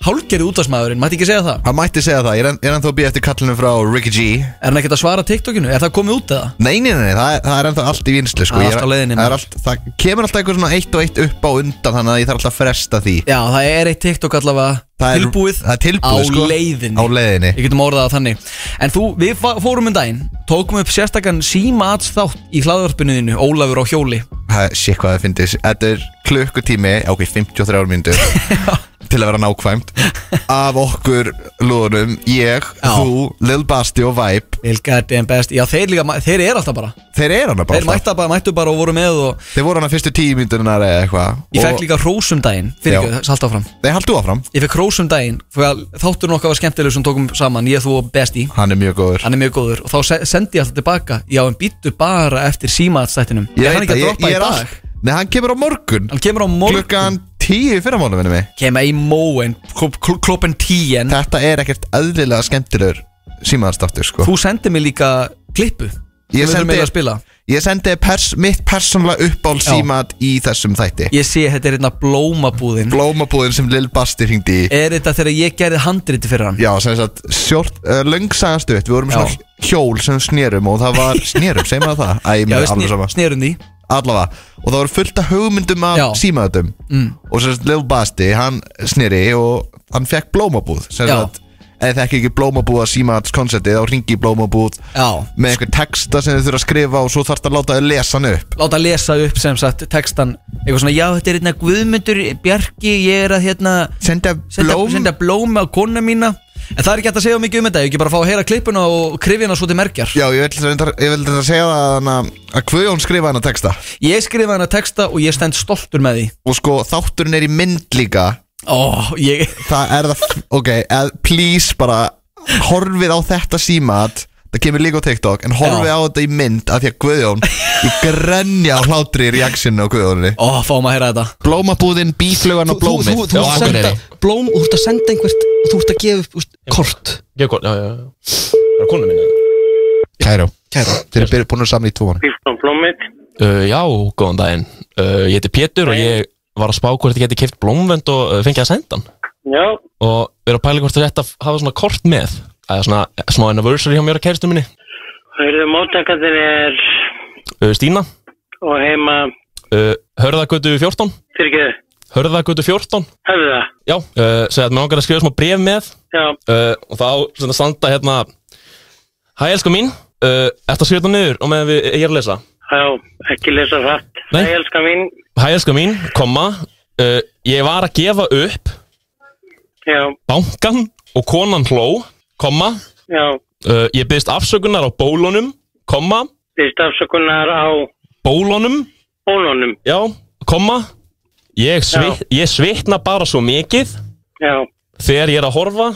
Speaker 3: hálgerði útvarsmaðurinn, mætti ekki segja það
Speaker 10: Hann mætti segja það, ég er, en- ég er ennþá að býja eftir kallinu frá Ricky G
Speaker 3: Er hann ekkert að svara TikTokinu? Er það komið út eða?
Speaker 10: Nei, nei, nei, nei það, er- það er ennþá allt í vinslu sko
Speaker 3: Það er
Speaker 10: Ég
Speaker 3: allt á leiðinni,
Speaker 10: það,
Speaker 3: maður.
Speaker 10: er allt, það kemur alltaf eitthvað svona eitt og eitt upp á undan Þannig að ég þarf alltaf að fresta því
Speaker 3: Já, það er eitt TikTok allavega
Speaker 10: Það er-
Speaker 3: tilbúið,
Speaker 10: það er tilbúið,
Speaker 3: á
Speaker 10: sko.
Speaker 3: leiðinni
Speaker 10: Á leiðinni.
Speaker 3: Ég getum orðað það þannig En þú, við fa- fórum um daginn Tókum upp sérstakann símaats þátt í hlaðvarpinu þínu Ólafur á hjóli
Speaker 10: Það- Shit, hvað það fyndist Þetta er klukkutími, ok, 53 mínútur Til að vera nákvæmt Af okkur lúðunum Ég,
Speaker 3: Já.
Speaker 10: þú, Lil Basti og Vibe
Speaker 3: Lil Goddamn Best Já, þeir líka, þeir eru alltaf bara
Speaker 10: Þeir eru hana bara
Speaker 3: Þeir mættu bara, mættu bara og voru með og
Speaker 10: Þeir voru hana fyrstu tíu mínúturnar eða eitthvað
Speaker 3: Ég fekk
Speaker 10: og-
Speaker 3: líka hrós um daginn Fyrir
Speaker 10: Já.
Speaker 3: ekki, salt áfram
Speaker 10: Nei, hald þú áfram
Speaker 3: Ég fekk hrós um daginn Fyrir að þátturinn okkar var skemmtilegur sem tókum saman Ég, þú og Besti
Speaker 10: Hann er mjög góður
Speaker 3: Hann er mjög góður Og þá se- sendi ég alltaf tilbaka Já, en býttu bara eftir símaatstættinum
Speaker 10: Ég
Speaker 3: hann
Speaker 10: veit það,
Speaker 3: ekki að
Speaker 10: ég,
Speaker 3: droppa
Speaker 10: ég er
Speaker 3: í dag
Speaker 10: all Nei, hann kemur á morgun
Speaker 3: Hann kemur á morgun
Speaker 10: Klukkan tíu fyrir mánu, minni mig
Speaker 3: Kemur í móin Kloppen tíen
Speaker 10: Þetta er ekkert öðlilega skemmtilegur símaðarstáttur, sko
Speaker 3: Þú sendi mér líka klippu
Speaker 10: Ég
Speaker 3: Sem við þurfum
Speaker 10: sendi-
Speaker 3: eiginlega að spila
Speaker 10: Ég sendi pers, mitt persónlega uppál símaðar í þessum þætti
Speaker 3: Ég sé þetta er hérna blómabúðin
Speaker 10: Blómabúðin sem Lil Basti hringdi í
Speaker 3: Er þetta þegar ég gerði handriti fyrir hann?
Speaker 10: Já, sem sagt, short, uh, löngsagastuðt Við vorum með
Speaker 3: Já.
Speaker 10: svona hjól sem snérum Og það var snérum, segjum við það Æ, mér
Speaker 3: Já,
Speaker 10: er
Speaker 3: við
Speaker 10: alveg
Speaker 3: sne-
Speaker 10: sama
Speaker 3: snerum því
Speaker 10: allavega og það voru fullt af hugmyndum af
Speaker 3: Já.
Speaker 10: símaðutum mm. og sérst Lil Basti, hann sneri og hann fekk blómabúð sérst
Speaker 3: Já.
Speaker 10: að eða þekki ekki blómabúða símaðats konceptið þá ringi í blómabúð
Speaker 3: Já.
Speaker 10: með einhver texta sem þau þurfa að skrifa og svo þarf það að láta þau lesa hann upp
Speaker 3: láta lesa upp sem sagt textan eitthvað svona, já þetta er hérna Guðmundur Bjarki, ég er að hérna
Speaker 10: senda
Speaker 3: senda,
Speaker 10: blóm
Speaker 3: senda blóm á kona mína en það er ekki hægt að segja mikið um þetta, ég ekki bara að fá að heyra klippuna og krifjana svo til merkjar
Speaker 10: Já, ég vil þetta að segja það hana, að Guðjón skrifa hann að texta
Speaker 3: ég skrifa hana texta og ég stend stoltur með því
Speaker 10: og sko þátturinn er í mynd líka
Speaker 3: ó, ég,
Speaker 10: það er það, ok, eð, please bara horfið á þetta símat það kemur líka á TikTok en horfið
Speaker 3: Já.
Speaker 10: á þetta í mynd af því að Guðjón ég grenja á hlátri í reaksinu á Guðjóninni
Speaker 3: ó, fáum að heyra þetta
Speaker 10: blómabúðin, bíflugan og blómið
Speaker 8: Þú, þú, þú,
Speaker 10: Já,
Speaker 8: þú senda
Speaker 10: Akureyri.
Speaker 8: blóm og þú ert að senda einhvert og þú ert að gefa upp úst, kort
Speaker 10: Kæró, þeir eru búin að samla í tvo hann
Speaker 11: Uh, já, góðan daginn. Uh, ég heiti Pétur og ég var að spá hvort ég geti keift blómvend og uh, fengið að senda hann.
Speaker 7: Já,
Speaker 11: Og við erum að pæla hvort það er rétt að hafa svona kort með. Það er svona smá anniversary hjá mér og kæristum minni.
Speaker 7: heyrðu, móttakarnir er
Speaker 11: uh, Stína
Speaker 7: og heima
Speaker 11: uh, Hörðagötu 14
Speaker 7: fyrir ekki
Speaker 11: Hörðagötu 14
Speaker 7: hefðu það
Speaker 11: Já, uh, segja að mér langar að skrifa smá bref með
Speaker 7: Já.
Speaker 11: uh, Og þá svona, standa hérna Hæ, elsku mín uh, Ertu að skrifa þetta niður og meðan við ég er að lesa
Speaker 7: já, ekki lesa fatt
Speaker 11: Nei.
Speaker 7: ég elska mín
Speaker 11: Hæ, elsku mín, komma uh, Ég var að gefa upp
Speaker 7: já,
Speaker 11: Bankan og konan hló Komma
Speaker 7: já,
Speaker 11: uh, Ég byrðist afsökunar á bólunum Komma
Speaker 7: byrst afsökunar á
Speaker 11: Bólunum
Speaker 7: bólunum
Speaker 11: Já, komma Ég,
Speaker 7: Já.
Speaker 11: svit, ég svitna bara svo mikið
Speaker 7: já,
Speaker 11: Þegar ég er að horfa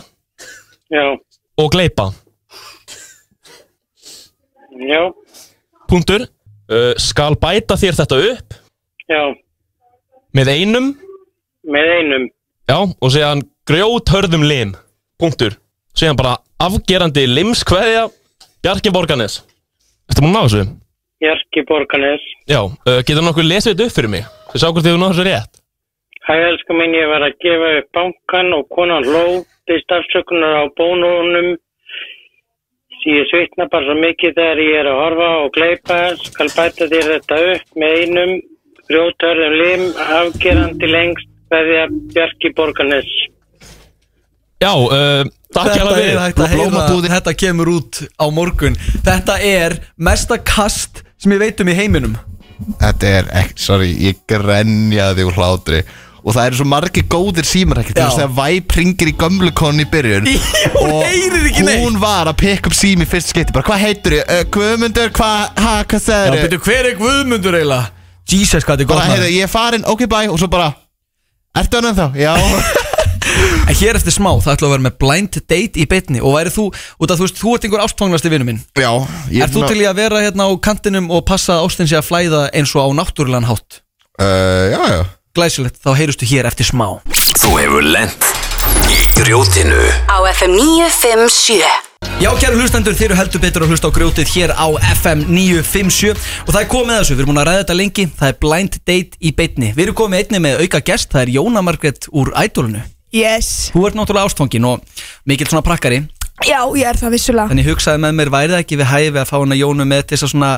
Speaker 7: já,
Speaker 11: og gleipa
Speaker 7: já,
Speaker 11: Punktur uh, Skal bæta þér þetta upp
Speaker 7: já
Speaker 11: með einum
Speaker 7: með einum
Speaker 11: Já, og segja hann grjóthörðum lim Punktur Segja hann bara afgerandi limskveðja Bjarki Borganes Ertu múin að ná þessu?
Speaker 7: Jarki Borganes
Speaker 11: Já, uh, getur nokkuð lesið þetta upp fyrir mig? Við sá hvort þið ná þessu rétt
Speaker 7: Hæ, elsku mín, ég var að gefa upp bankan og konan hló, byrst afsökunar á bónunum. Því ég svitna bara svo mikið þegar ég er að horfa og gleypa, skal bæta þér þetta upp með einum, grjótörðum lim, afgerandi lengst, veðja Bjarki Borganes.
Speaker 11: Já, uh, takk
Speaker 3: Þetta
Speaker 11: hérna
Speaker 3: er
Speaker 11: fyrir
Speaker 3: hægt að heyra, þetta kemur út á morgun Þetta er mesta kast sem ég veit um í heiminum
Speaker 10: Þetta er ekki, sorry, ég grenjaði úr hlátri Og það eru svo margir góðir símar ekkert Þú veist þegar Væp ringir í gömlu konni í byrjun Hún
Speaker 3: heyrir ekki neitt.
Speaker 10: Hún var að pekka upp sími í fyrst skipti Bara hvað heitur ég? Uh, Guðmundur, hvað, ha, hvað
Speaker 3: Já,
Speaker 10: segir
Speaker 3: betur hver er Guðmundur eiginlega? Jesus, hvað þetta er gott
Speaker 10: Bara
Speaker 3: maður.
Speaker 10: heyrðu, ég er farin, ok bye Og svo bara, ertu hann ennþá? Já
Speaker 3: En hér eftir smá, það ætla að vera með blind date í betni Og væri þú, út af þú veist, þú ert einhver ástfanglasti vinnu minn
Speaker 10: Já ég er
Speaker 3: Er þú
Speaker 10: ná-
Speaker 3: til í að vera hérna á kantinum og passa að ástin sé að flæða eins og á náttúrulegan hátt?
Speaker 10: Uh, já, já
Speaker 3: Glæsilegt, þá heyrustu hér eftir smá
Speaker 1: Þú hefur lent í grjótinu
Speaker 2: Á FM 957
Speaker 3: Já, kæru hlustendur, þeir eru heldur betur að hlusta á grjótið hér á FM 957 og það er komið að þessu, við erum búin að ræða þetta lengi það er blind date í beitni við erum komið einni með auka gest, það er Jóna Margrét úr Ædolunu
Speaker 12: Yes
Speaker 3: Þú ert náttúrulega ástfangin og mikill svona prakkari
Speaker 12: Já, ég er það vissulega
Speaker 3: þannig hugsaði með mér, væri það ekki við hæfi að fá hana Jónu með til þess að svona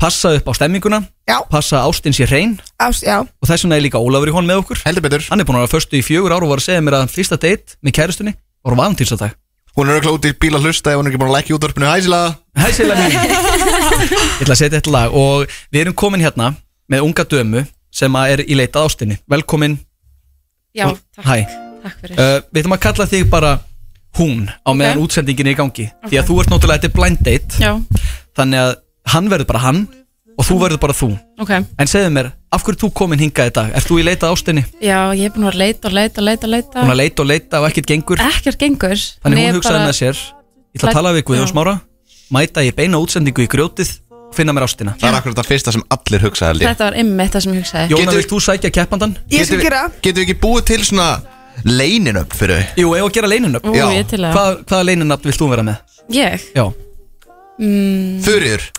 Speaker 3: passa upp á stemminguna
Speaker 12: Já.
Speaker 3: passa að ástin sér hrein
Speaker 12: Ást, já
Speaker 3: og þess vegna er líka Ólafur í hon með okkur
Speaker 10: heldur betur
Speaker 3: hann er búin að vera förstu í fjögur ár og var að segja mér að fyrsta date með kærustunni var valentínsdag
Speaker 10: Hún er auðvitað úti í bíl að hlusta Ef hún er ekki búin að lækja útvarpinu Hæsila
Speaker 3: Hæsila mín Ég ætla að setja eitt lag og við erum komin hérna með unga dömu sem að er í leitað ástinni Velkomin,
Speaker 13: Já, takk,
Speaker 3: hæ
Speaker 13: takk fyrir
Speaker 3: uh, Við ætlum að kalla þig bara hún á meðan útsendingin er í gangi Því að þú ert náttúrulega, þetta er blind date
Speaker 13: Já,
Speaker 3: Þannig að hann verður bara hann og þú verður bara þú
Speaker 13: ok
Speaker 3: En segðu mér, af hverju ert þú komin hingað í dag? Ert þú í leitað ástinni?
Speaker 13: Já, ég er búin að vera að leita og leita og leita, og leita.
Speaker 3: Hún að leita og leita og ekkert gengur
Speaker 13: Ekkert gengur
Speaker 3: Þannig
Speaker 13: Ég
Speaker 3: hún hugsaði
Speaker 13: bara-
Speaker 3: með sér Ég ætla
Speaker 13: Læt-
Speaker 3: að tala við Guðjón
Speaker 13: Já.
Speaker 3: Smára Mæta ég beina útsendingu í grjótið og finna mér ástina
Speaker 10: Það er akkurat það fyrsta sem allir hugsaði held ég.
Speaker 13: Þetta var ymmið það sem ég hugsaði
Speaker 3: Jóna, vilt þú sækja keppandan?
Speaker 10: Ég skal gera Getum við ekki búið til svona leyninöfn fyrir þau?
Speaker 3: Jú, ef að gera leyninöfn
Speaker 13: Ú, Já. ég til að-
Speaker 3: Hvað, Hvaða leyninöfn vilt þú vera með?
Speaker 13: Ég?
Speaker 3: Já
Speaker 13: Mm,
Speaker 10: Þurriður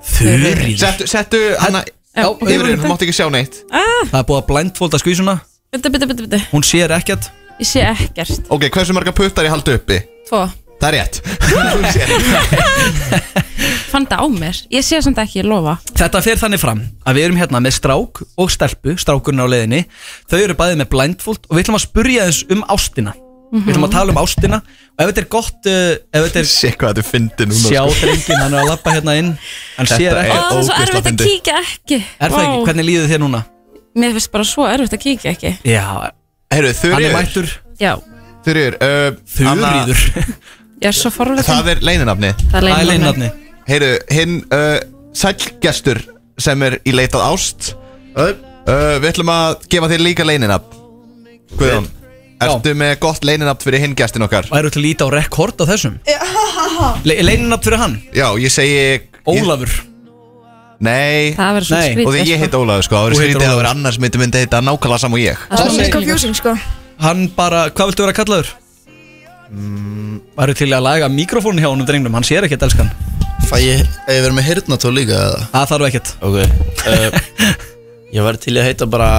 Speaker 3: Þurriður
Speaker 10: Settu, settu hana
Speaker 13: Já,
Speaker 10: Þurriður, hún mátti ekki sjá neitt
Speaker 13: ah,
Speaker 3: Það er búið að blindfolda skvísuna
Speaker 13: Bitti, bitti, bitti, bitti
Speaker 3: Hún sér ekkert
Speaker 13: Ég sé ekkert
Speaker 10: Ok, hversu marga puttar ég haldi uppi?
Speaker 13: Tvo
Speaker 10: Það er rétt
Speaker 13: Fann það á mér Ég sé samt ekki, ég lofa
Speaker 3: Þetta fer þannig fram að við erum hérna með strák og stelpu, strákurinn á leiðinni Þau eru bæðið með blindfold og við ætlum að spurja þess um ástina Við
Speaker 13: Mhm.
Speaker 3: ætlum að tala um ástina og ef þetta er gott uh, ef þetta er
Speaker 10: Sér hvað þetta fyndi núna
Speaker 3: Sjá
Speaker 10: sko.
Speaker 3: drengin, hann er að lappa hérna inn Hann
Speaker 10: Þetta er
Speaker 3: sér
Speaker 13: Ó,
Speaker 3: ekkert
Speaker 13: það er svo erfitt að kíkja ekki
Speaker 3: Er það ekki?
Speaker 13: Vá.
Speaker 3: Hvernig líður þér núna?
Speaker 13: Mér finnst bara svo erfitt að kíkja ekki
Speaker 3: Já
Speaker 10: Heyrðu,
Speaker 3: Hann er
Speaker 10: Þuríður.
Speaker 3: mættur
Speaker 13: Já,
Speaker 10: Þurriður uh,
Speaker 3: Þurriður
Speaker 13: ég er svo forvitin
Speaker 10: Það er leyninöfni
Speaker 13: Það er leyninafnið.
Speaker 10: Heyrðu, hinn uh, sælgestur sem er í leitað ást uh, Við ætlum að gefa þér líka leyninöfn Guðjón Ertu með gott leyninöfn fyrir hinn gestin okkar?
Speaker 3: Og eru til að líta á rekord á þessum? Le Leyninöfn fyrir hann?
Speaker 10: Já, ég segi
Speaker 3: Ólafur
Speaker 10: Nei
Speaker 13: Það verður
Speaker 12: svolítið Nei. skrítið,
Speaker 10: Og því ég
Speaker 12: sko.
Speaker 10: heit Ólafur sko Það
Speaker 3: Þú
Speaker 10: verður
Speaker 3: heitir
Speaker 10: skrítið að það verður
Speaker 3: Ólafur.
Speaker 10: annars myndi myndi heita nákvæmlega saman og ég
Speaker 12: Það er mjög confusing, sko
Speaker 3: Hann bara, hvað viltu vera kallaður? Mm. Varu til að laga mikrofónu hjá honum drengnum, hann sér ekkert elskan
Speaker 14: Fæ ég, ef ég verið með hirtnatól líka eða?
Speaker 3: Það þarf ekkert
Speaker 14: Ok uh, Ég væri til í að heita bara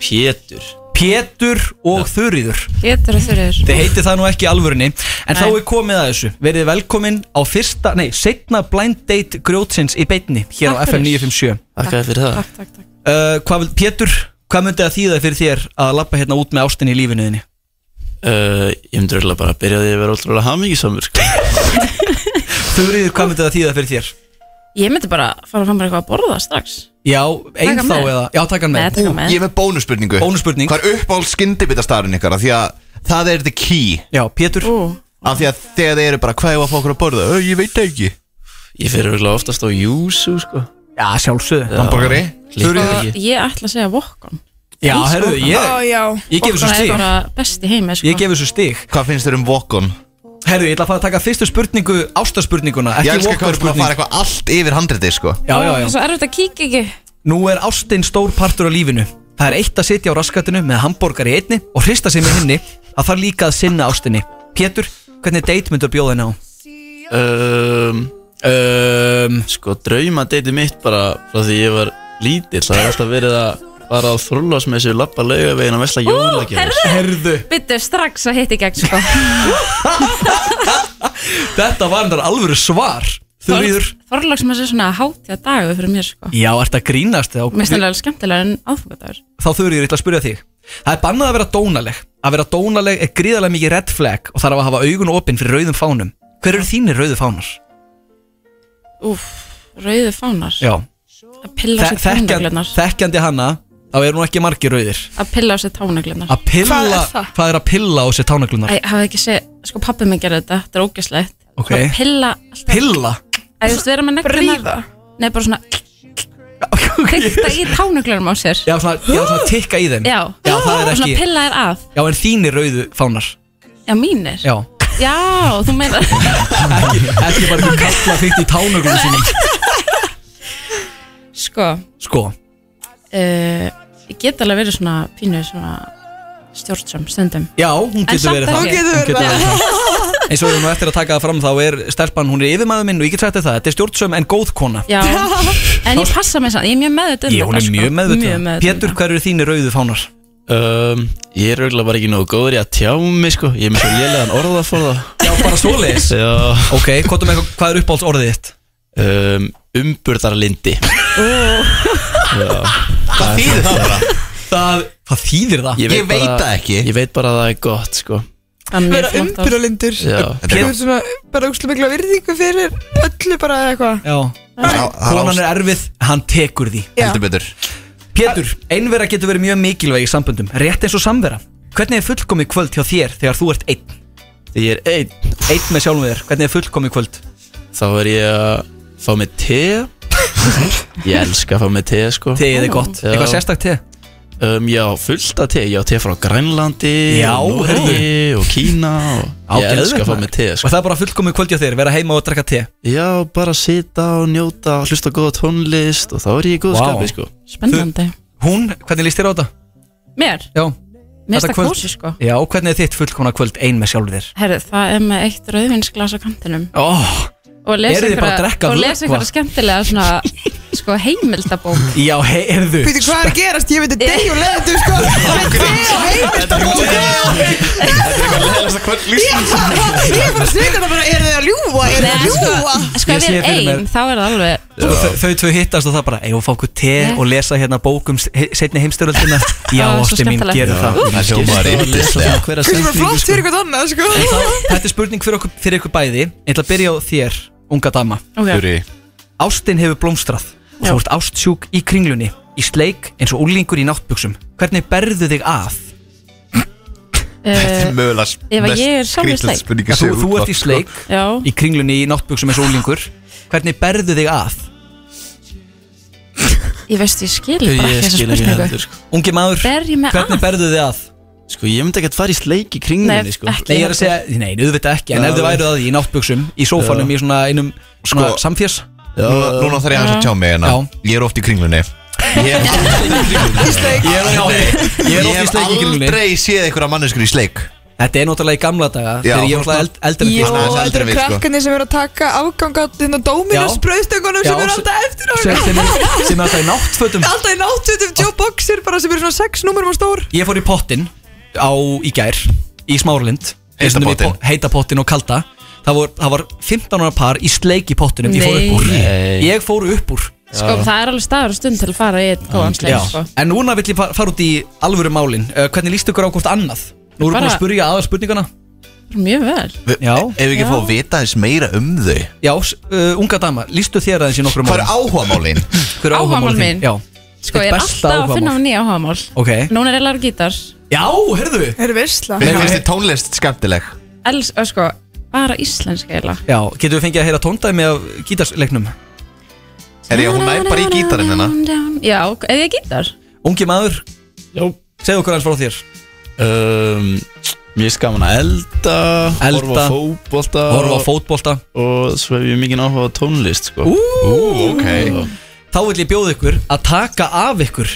Speaker 14: Pétur
Speaker 3: Pétur og Þuríður
Speaker 13: Getur það þurrir
Speaker 3: Þið heiti það nú ekki í alvörunni En þá
Speaker 13: Nei.
Speaker 3: er komið að þessu Verið velkomin á fyrsta, nei, setna blind date grjótsins í beinni Hér á
Speaker 13: Takk fyrir.
Speaker 3: FM 957
Speaker 13: Þakka þér fyrir það. Takk,
Speaker 3: takk, takk. Uh, hvað, vil- Pétur, hvað myndi það þýða fyrir þér að lappa hérna út með ástinni í lífinu þinni?
Speaker 14: Uh, ég myndi röglega bara að byrja á því að vera ótrúlega hamingisamur sko.
Speaker 3: Þuríður, hvað myndi það þýða fyrir þér?
Speaker 13: Ég myndi bara fara að fara bara eitthvað að borða strax
Speaker 3: Já,
Speaker 13: Taka
Speaker 3: einn þá
Speaker 13: með.
Speaker 3: eða Já, taka hann
Speaker 13: Nei,
Speaker 3: með
Speaker 13: taka hann með.
Speaker 10: Ég er með bónusspurningu Bónusspurning Hvað er uppáhald skyndibitastæðurinn ykkar? Af Því að það er the key
Speaker 3: Já, Pétur
Speaker 13: Ú.
Speaker 10: Af því að þegar þeir eru bara Hvað er að fá okkur að borða? Ö, ég veit það ekki
Speaker 14: Ég fyrir röglega oftast á Júsu sko.
Speaker 3: Já, sjálfsögðu
Speaker 10: Hamburgari
Speaker 13: Og ég ætla að segja vokkan
Speaker 10: Já,
Speaker 13: Elska
Speaker 10: heyrðu,
Speaker 13: Vokkan.
Speaker 10: ég- Ó, já. ég gef þessu
Speaker 13: Vokkan
Speaker 10: stig.
Speaker 13: er bara best í heimi sko.
Speaker 3: gef þessu stig
Speaker 10: Hvað finnst þér um Vokon?
Speaker 3: Herru, ég ætla að fara að taka fyrstu spurningu Ástaspurninguna,
Speaker 10: Ég
Speaker 3: ekki sko,
Speaker 10: elskar hvað er búin að fara
Speaker 3: walker-spurning
Speaker 10: eitthvað allt yfir handriti sko
Speaker 3: Já, já, já
Speaker 13: Svo erfitt að kíkja ekki
Speaker 3: Nú er ástin stór partur á lífinu Það er eitt að sitja á raskatinu með hambúrgar í einni og hrista sig með henni að það líka að sinna ástinni Pétur, hvernig date myndu að bjóða henni á?
Speaker 14: um, um, Sko drauma mitt bara frá því ég var lítill Það er alltaf verið að fara á þrúlasmessu Lappa laugavegin að vesla jólagjörð
Speaker 3: Herðu
Speaker 13: Byttu strax að hitti gegn sko.
Speaker 3: Þetta var hennar alvöru svar Þurriður
Speaker 13: Þorlagsmess er svona hátíða dagu fyrir mér sko.
Speaker 3: Já, ert að grínast
Speaker 13: Mér finnst það
Speaker 3: þá,
Speaker 13: alveg skemmtilega en aðfungadagur
Speaker 3: þá Þurriður, ég ætla að spyrja þig Það er bannað að vera dónaleg Að vera dónaleg er gríðarlega mikið red flag og þarf að hafa augun opinn fyrir rauðum fánum Hver eru þínir rauðu fánar?
Speaker 13: Úf, rauðu fánar
Speaker 3: Já
Speaker 13: Að pilla á
Speaker 3: Þe-
Speaker 13: sér
Speaker 3: þekkjan-
Speaker 13: tánaglöfnar
Speaker 3: Þekkjandi hanna, þá eru nú ekki margir rauðir
Speaker 13: Að pilla á sér tánaglöfnar
Speaker 3: Að pilla,
Speaker 13: Hvað er það?
Speaker 3: hvað er að pilla á sér
Speaker 13: Æ,
Speaker 3: tánaglunar?
Speaker 13: hafði ekki segið, sko pappi minn gerði þetta, þetta er ógæslegt
Speaker 3: Ok.
Speaker 13: Bara pilla alltaf
Speaker 3: Pilla?
Speaker 13: Æ, þú veist, vera með nektina Bríða? Nei, bara svona Kveikta í tánuglunum á sér
Speaker 3: Já, svona, já, svona tikka í þeim
Speaker 13: Já,
Speaker 3: já það er
Speaker 13: Og
Speaker 3: ekki
Speaker 13: Svona pilla er að,
Speaker 3: Já, en þínir rauðu fánar
Speaker 13: já mínir
Speaker 3: Já,
Speaker 13: Já, þú meinar
Speaker 3: ekki, ekki bara einhver kalla fyrst í tánaglunum sínum
Speaker 13: Sko,
Speaker 3: Sko,
Speaker 13: uh, ég get alveg verið svona pínu svona stjórnsam stundum
Speaker 3: já, hún
Speaker 13: En
Speaker 3: getur
Speaker 13: samt
Speaker 3: verið
Speaker 13: ekki.
Speaker 3: það
Speaker 13: Hún getur verið það.
Speaker 3: það Eins og ég er nú eftir að taka það fram þá er stelpan, hún er yfirmaður minn og ég get sagt þér það Þetta er stjórnsöm en góð kona
Speaker 13: Já, en ég passa mig samt, ég er mjög um meðut
Speaker 3: Ég, hún er mjög
Speaker 13: Mjög
Speaker 3: meðvitað
Speaker 13: meðut
Speaker 3: Pétur, hver eru þínir rauðu fánar?
Speaker 14: um, Ég er röglega bara ekki nógu góður í að tjá mig sko. Ég er með svo lélegan orðaforða
Speaker 3: Já, bara svoleiðis
Speaker 14: Já
Speaker 3: Ok, hvað er, hvað er uppáhalds orðið þitt?
Speaker 14: Um, umburðarlindi Hvað
Speaker 10: þýðir það bara?
Speaker 3: Það, hvað þýðir það?
Speaker 14: Ég
Speaker 10: Ég veit
Speaker 14: veit, bara,
Speaker 10: það ekki.
Speaker 14: Ég veit bara að það er gott sko
Speaker 15: vera umbyrralindur
Speaker 14: Já.
Speaker 15: Þú er svona bara ógslum mikla virðingu fyrir öllu bara eða eitthvað
Speaker 3: Já, konan er erfið, hann tekur því
Speaker 15: Já. Heldur
Speaker 10: betur
Speaker 3: Pétur, einvera getur verið mjög mikilvæg í samböndum Rétt eins og samvera Hvernig er fullkomið kvöld hjá þér þegar þú ert einn?
Speaker 14: Þegar ég er einn
Speaker 3: Einn með sjálfum þér, hvernig er fullkomið kvöld?
Speaker 14: Þá er ég að fá mig te Ég elska að fá mig te sko
Speaker 3: Teið er gott, eitthvað sérstakt te?
Speaker 14: Um, já, fullt af te, já, te frá Grænlandi
Speaker 3: Já,
Speaker 14: og Noregi og Kína og
Speaker 3: Á,
Speaker 14: Ég elska
Speaker 3: geðveikt,
Speaker 14: að fá
Speaker 3: maður.
Speaker 14: mig te
Speaker 3: Og
Speaker 14: sko
Speaker 3: það er bara fullkomið kvöld hjá þér, vera heima og drekka te
Speaker 14: Já, bara sita og njóta og hlusta á góða tónlist og þá er ég í góð
Speaker 3: Vá.
Speaker 14: skapi sko
Speaker 13: Spennandi
Speaker 3: Hún, hvernig líst þér á þetta?
Speaker 13: Mér?
Speaker 3: Já
Speaker 13: Mér finnst
Speaker 3: Þetta
Speaker 13: það
Speaker 3: kvöld-
Speaker 13: kósi sko
Speaker 3: Já, hvernig er þitt fullkomna kvöld einn með sjálfum þér?
Speaker 13: Herðu, það er með eitt rauðvinsglas á kantinum
Speaker 3: Ó,
Speaker 13: Og lesa
Speaker 3: Eruð þið bara að drekka
Speaker 13: og lesa
Speaker 3: vökva?
Speaker 13: einhverja skemmtilega svona, sko, heimildabók
Speaker 3: Já, heyrðu
Speaker 15: Býtu hvað er að gerast, ég veit að deg og leiðindu sko Með þig og heimilt að bóka Ég er bara svikar að bara, eru þið að ljúa, eru þið að
Speaker 13: Nei, sko,
Speaker 15: ljúa
Speaker 13: sko, ef
Speaker 3: Ég
Speaker 13: ég
Speaker 3: sé
Speaker 13: er
Speaker 3: fyrir mér.
Speaker 13: einn, þá er það alveg
Speaker 3: Og þau, þau tvö hittast og það bara Eða fá okkur te og lesa hérna bókum Setni heimstyröldina Já,
Speaker 15: Ah, svo
Speaker 3: ástu mín,
Speaker 15: skemmtilegt.
Speaker 3: gerum
Speaker 15: Já,
Speaker 3: það
Speaker 15: það hljómar
Speaker 14: yndislega.
Speaker 15: Hversu bara flott fyrir eitthvað annað sko
Speaker 3: Þetta er spurning fyrir, okkur, fyrir ykkur bæði Ég ætla að byrja á þér, unga dama
Speaker 13: Ok. eh, Þurí.
Speaker 3: Ástin hefur blómstrað Þú ert ástsjúk í kringlunni Í sleik eins og úlingur í náttbuksum Hvernig berðu þig að?
Speaker 13: uh,
Speaker 10: Mögulega
Speaker 13: Ef að ég er sjálfur í sleik
Speaker 3: ja, þú, þú sko. ert í
Speaker 10: sko.
Speaker 3: sleik
Speaker 13: Já,
Speaker 3: Í kringlunni í náttbuksum eins og úlingur Hvernig berðu þig að?
Speaker 13: ég veist, ég skil bara ekki þessa spurningu
Speaker 3: Ungi maður,
Speaker 13: Ber ég mig
Speaker 3: hvernig
Speaker 13: að?
Speaker 3: berðu þig að?
Speaker 14: Sko ég myndi ekki að fara í sleik í
Speaker 13: Nei,
Speaker 14: kringlunni sko
Speaker 13: ekki.
Speaker 3: Nei, ég er að segja, nei, auðvitað ekki En
Speaker 14: Já.
Speaker 3: ef þið væruð að því í náttbuksum Í sófanum, í svona einum svona samfjars
Speaker 10: Núna núna þarf ég aðeins að tjá mig hérna Ég er oft í kringlunni
Speaker 3: Ég er
Speaker 10: Ég
Speaker 3: oft í sleik í
Speaker 10: hef
Speaker 3: kringlunni.
Speaker 10: aldrei séð einhverja manneskur í sleik
Speaker 3: Þetta er náttúrulega í gamla daga
Speaker 10: Já.
Speaker 3: Þegar ég var náttúrulega eld, eldri en
Speaker 10: Jó,
Speaker 3: þið.
Speaker 10: aðeins eldri en við, sko.
Speaker 15: Krakkarnir sem eru að taka afgang á þinn og Dominos
Speaker 3: Já.
Speaker 15: brauðstökunum sem
Speaker 3: Já,
Speaker 15: eru
Speaker 3: sem-
Speaker 15: alltaf eftir á
Speaker 3: sem, sem, er, sem er alltaf í náttfötum
Speaker 15: Alltaf í náttutum Joe Boxer bara sem eru svona sex númerum og stór
Speaker 3: Ég fór í pottin á í gær Í Smáralind Einu sinni við
Speaker 10: pottinn.
Speaker 3: po- Heita pottin og kalda Það var, það var 15 ára par í sleik í pottinum Ég fór
Speaker 13: Nei.
Speaker 3: upp úr
Speaker 13: Nei.
Speaker 3: Ég fór upp úr
Speaker 13: Sko, það er alveg staður og stund til að fara í einn góðan sleik,
Speaker 3: Já.
Speaker 13: sko.
Speaker 3: En núna vill ég fara, fara út í alvöru málin uh, Hvernig líst ykkur á hvort annað? Nú erum við búin
Speaker 13: Bara-
Speaker 3: að spurja aðal spurningana
Speaker 13: Mjög vel.
Speaker 10: Já Ef við ekki fá að vita eins meira um þau
Speaker 3: Já, s- uh, unga dama, lístu þér aðeins í nokkrum
Speaker 10: Hvað er
Speaker 3: málum?
Speaker 10: áhugamálin?
Speaker 3: Hver er
Speaker 13: Áhugamál
Speaker 3: áhugamál
Speaker 13: mín?
Speaker 3: þín? Já
Speaker 13: Sko, ég er alltaf að finna á nýja áhagamál.
Speaker 3: Ok
Speaker 13: Núna er eiginlega gítar.
Speaker 3: Já, herðu
Speaker 15: Er veistla
Speaker 10: Mér finnst þið tónlist skemmtileg
Speaker 13: Els, ö, sko, bara íslensk eiginlega.
Speaker 3: Já, getum við fengið að heyra tóndæmi af gítarsleiknum?
Speaker 10: Er ég að hún nær bara í gítarinn hérna?
Speaker 13: Já, eða ég gítar?
Speaker 3: Ungi maður
Speaker 14: Jó
Speaker 3: Segðu okkur hans frá þér
Speaker 14: um, Mér er gaman að elda Horfa á fótbolta
Speaker 3: Horfa á fótbolta
Speaker 14: Og svo hef ég mikið áhuga á tónlist sko.
Speaker 3: Ú, Þá vill ég bjóða ykkur að taka af ykkur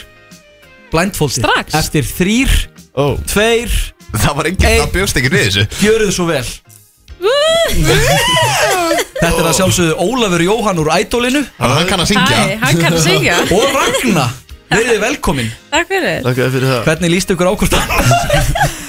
Speaker 3: blindfoldið
Speaker 10: Strax?
Speaker 3: Eftir þrýr,
Speaker 14: oh.
Speaker 3: tveir
Speaker 10: Það var enginn, það bjóst ekki við þessu
Speaker 3: Gjörðu svo vel Þetta er að sjálfsögðu Ólafur Jóhann úr Ædólinu
Speaker 10: Hann- hann kann að syngja. Hæ,
Speaker 13: hann kann að syngja.
Speaker 3: Og Ragna, verið velkomin
Speaker 13: Takk fyrir.
Speaker 14: Takk fyrir það
Speaker 3: Hvernig líst ykkur ákvort að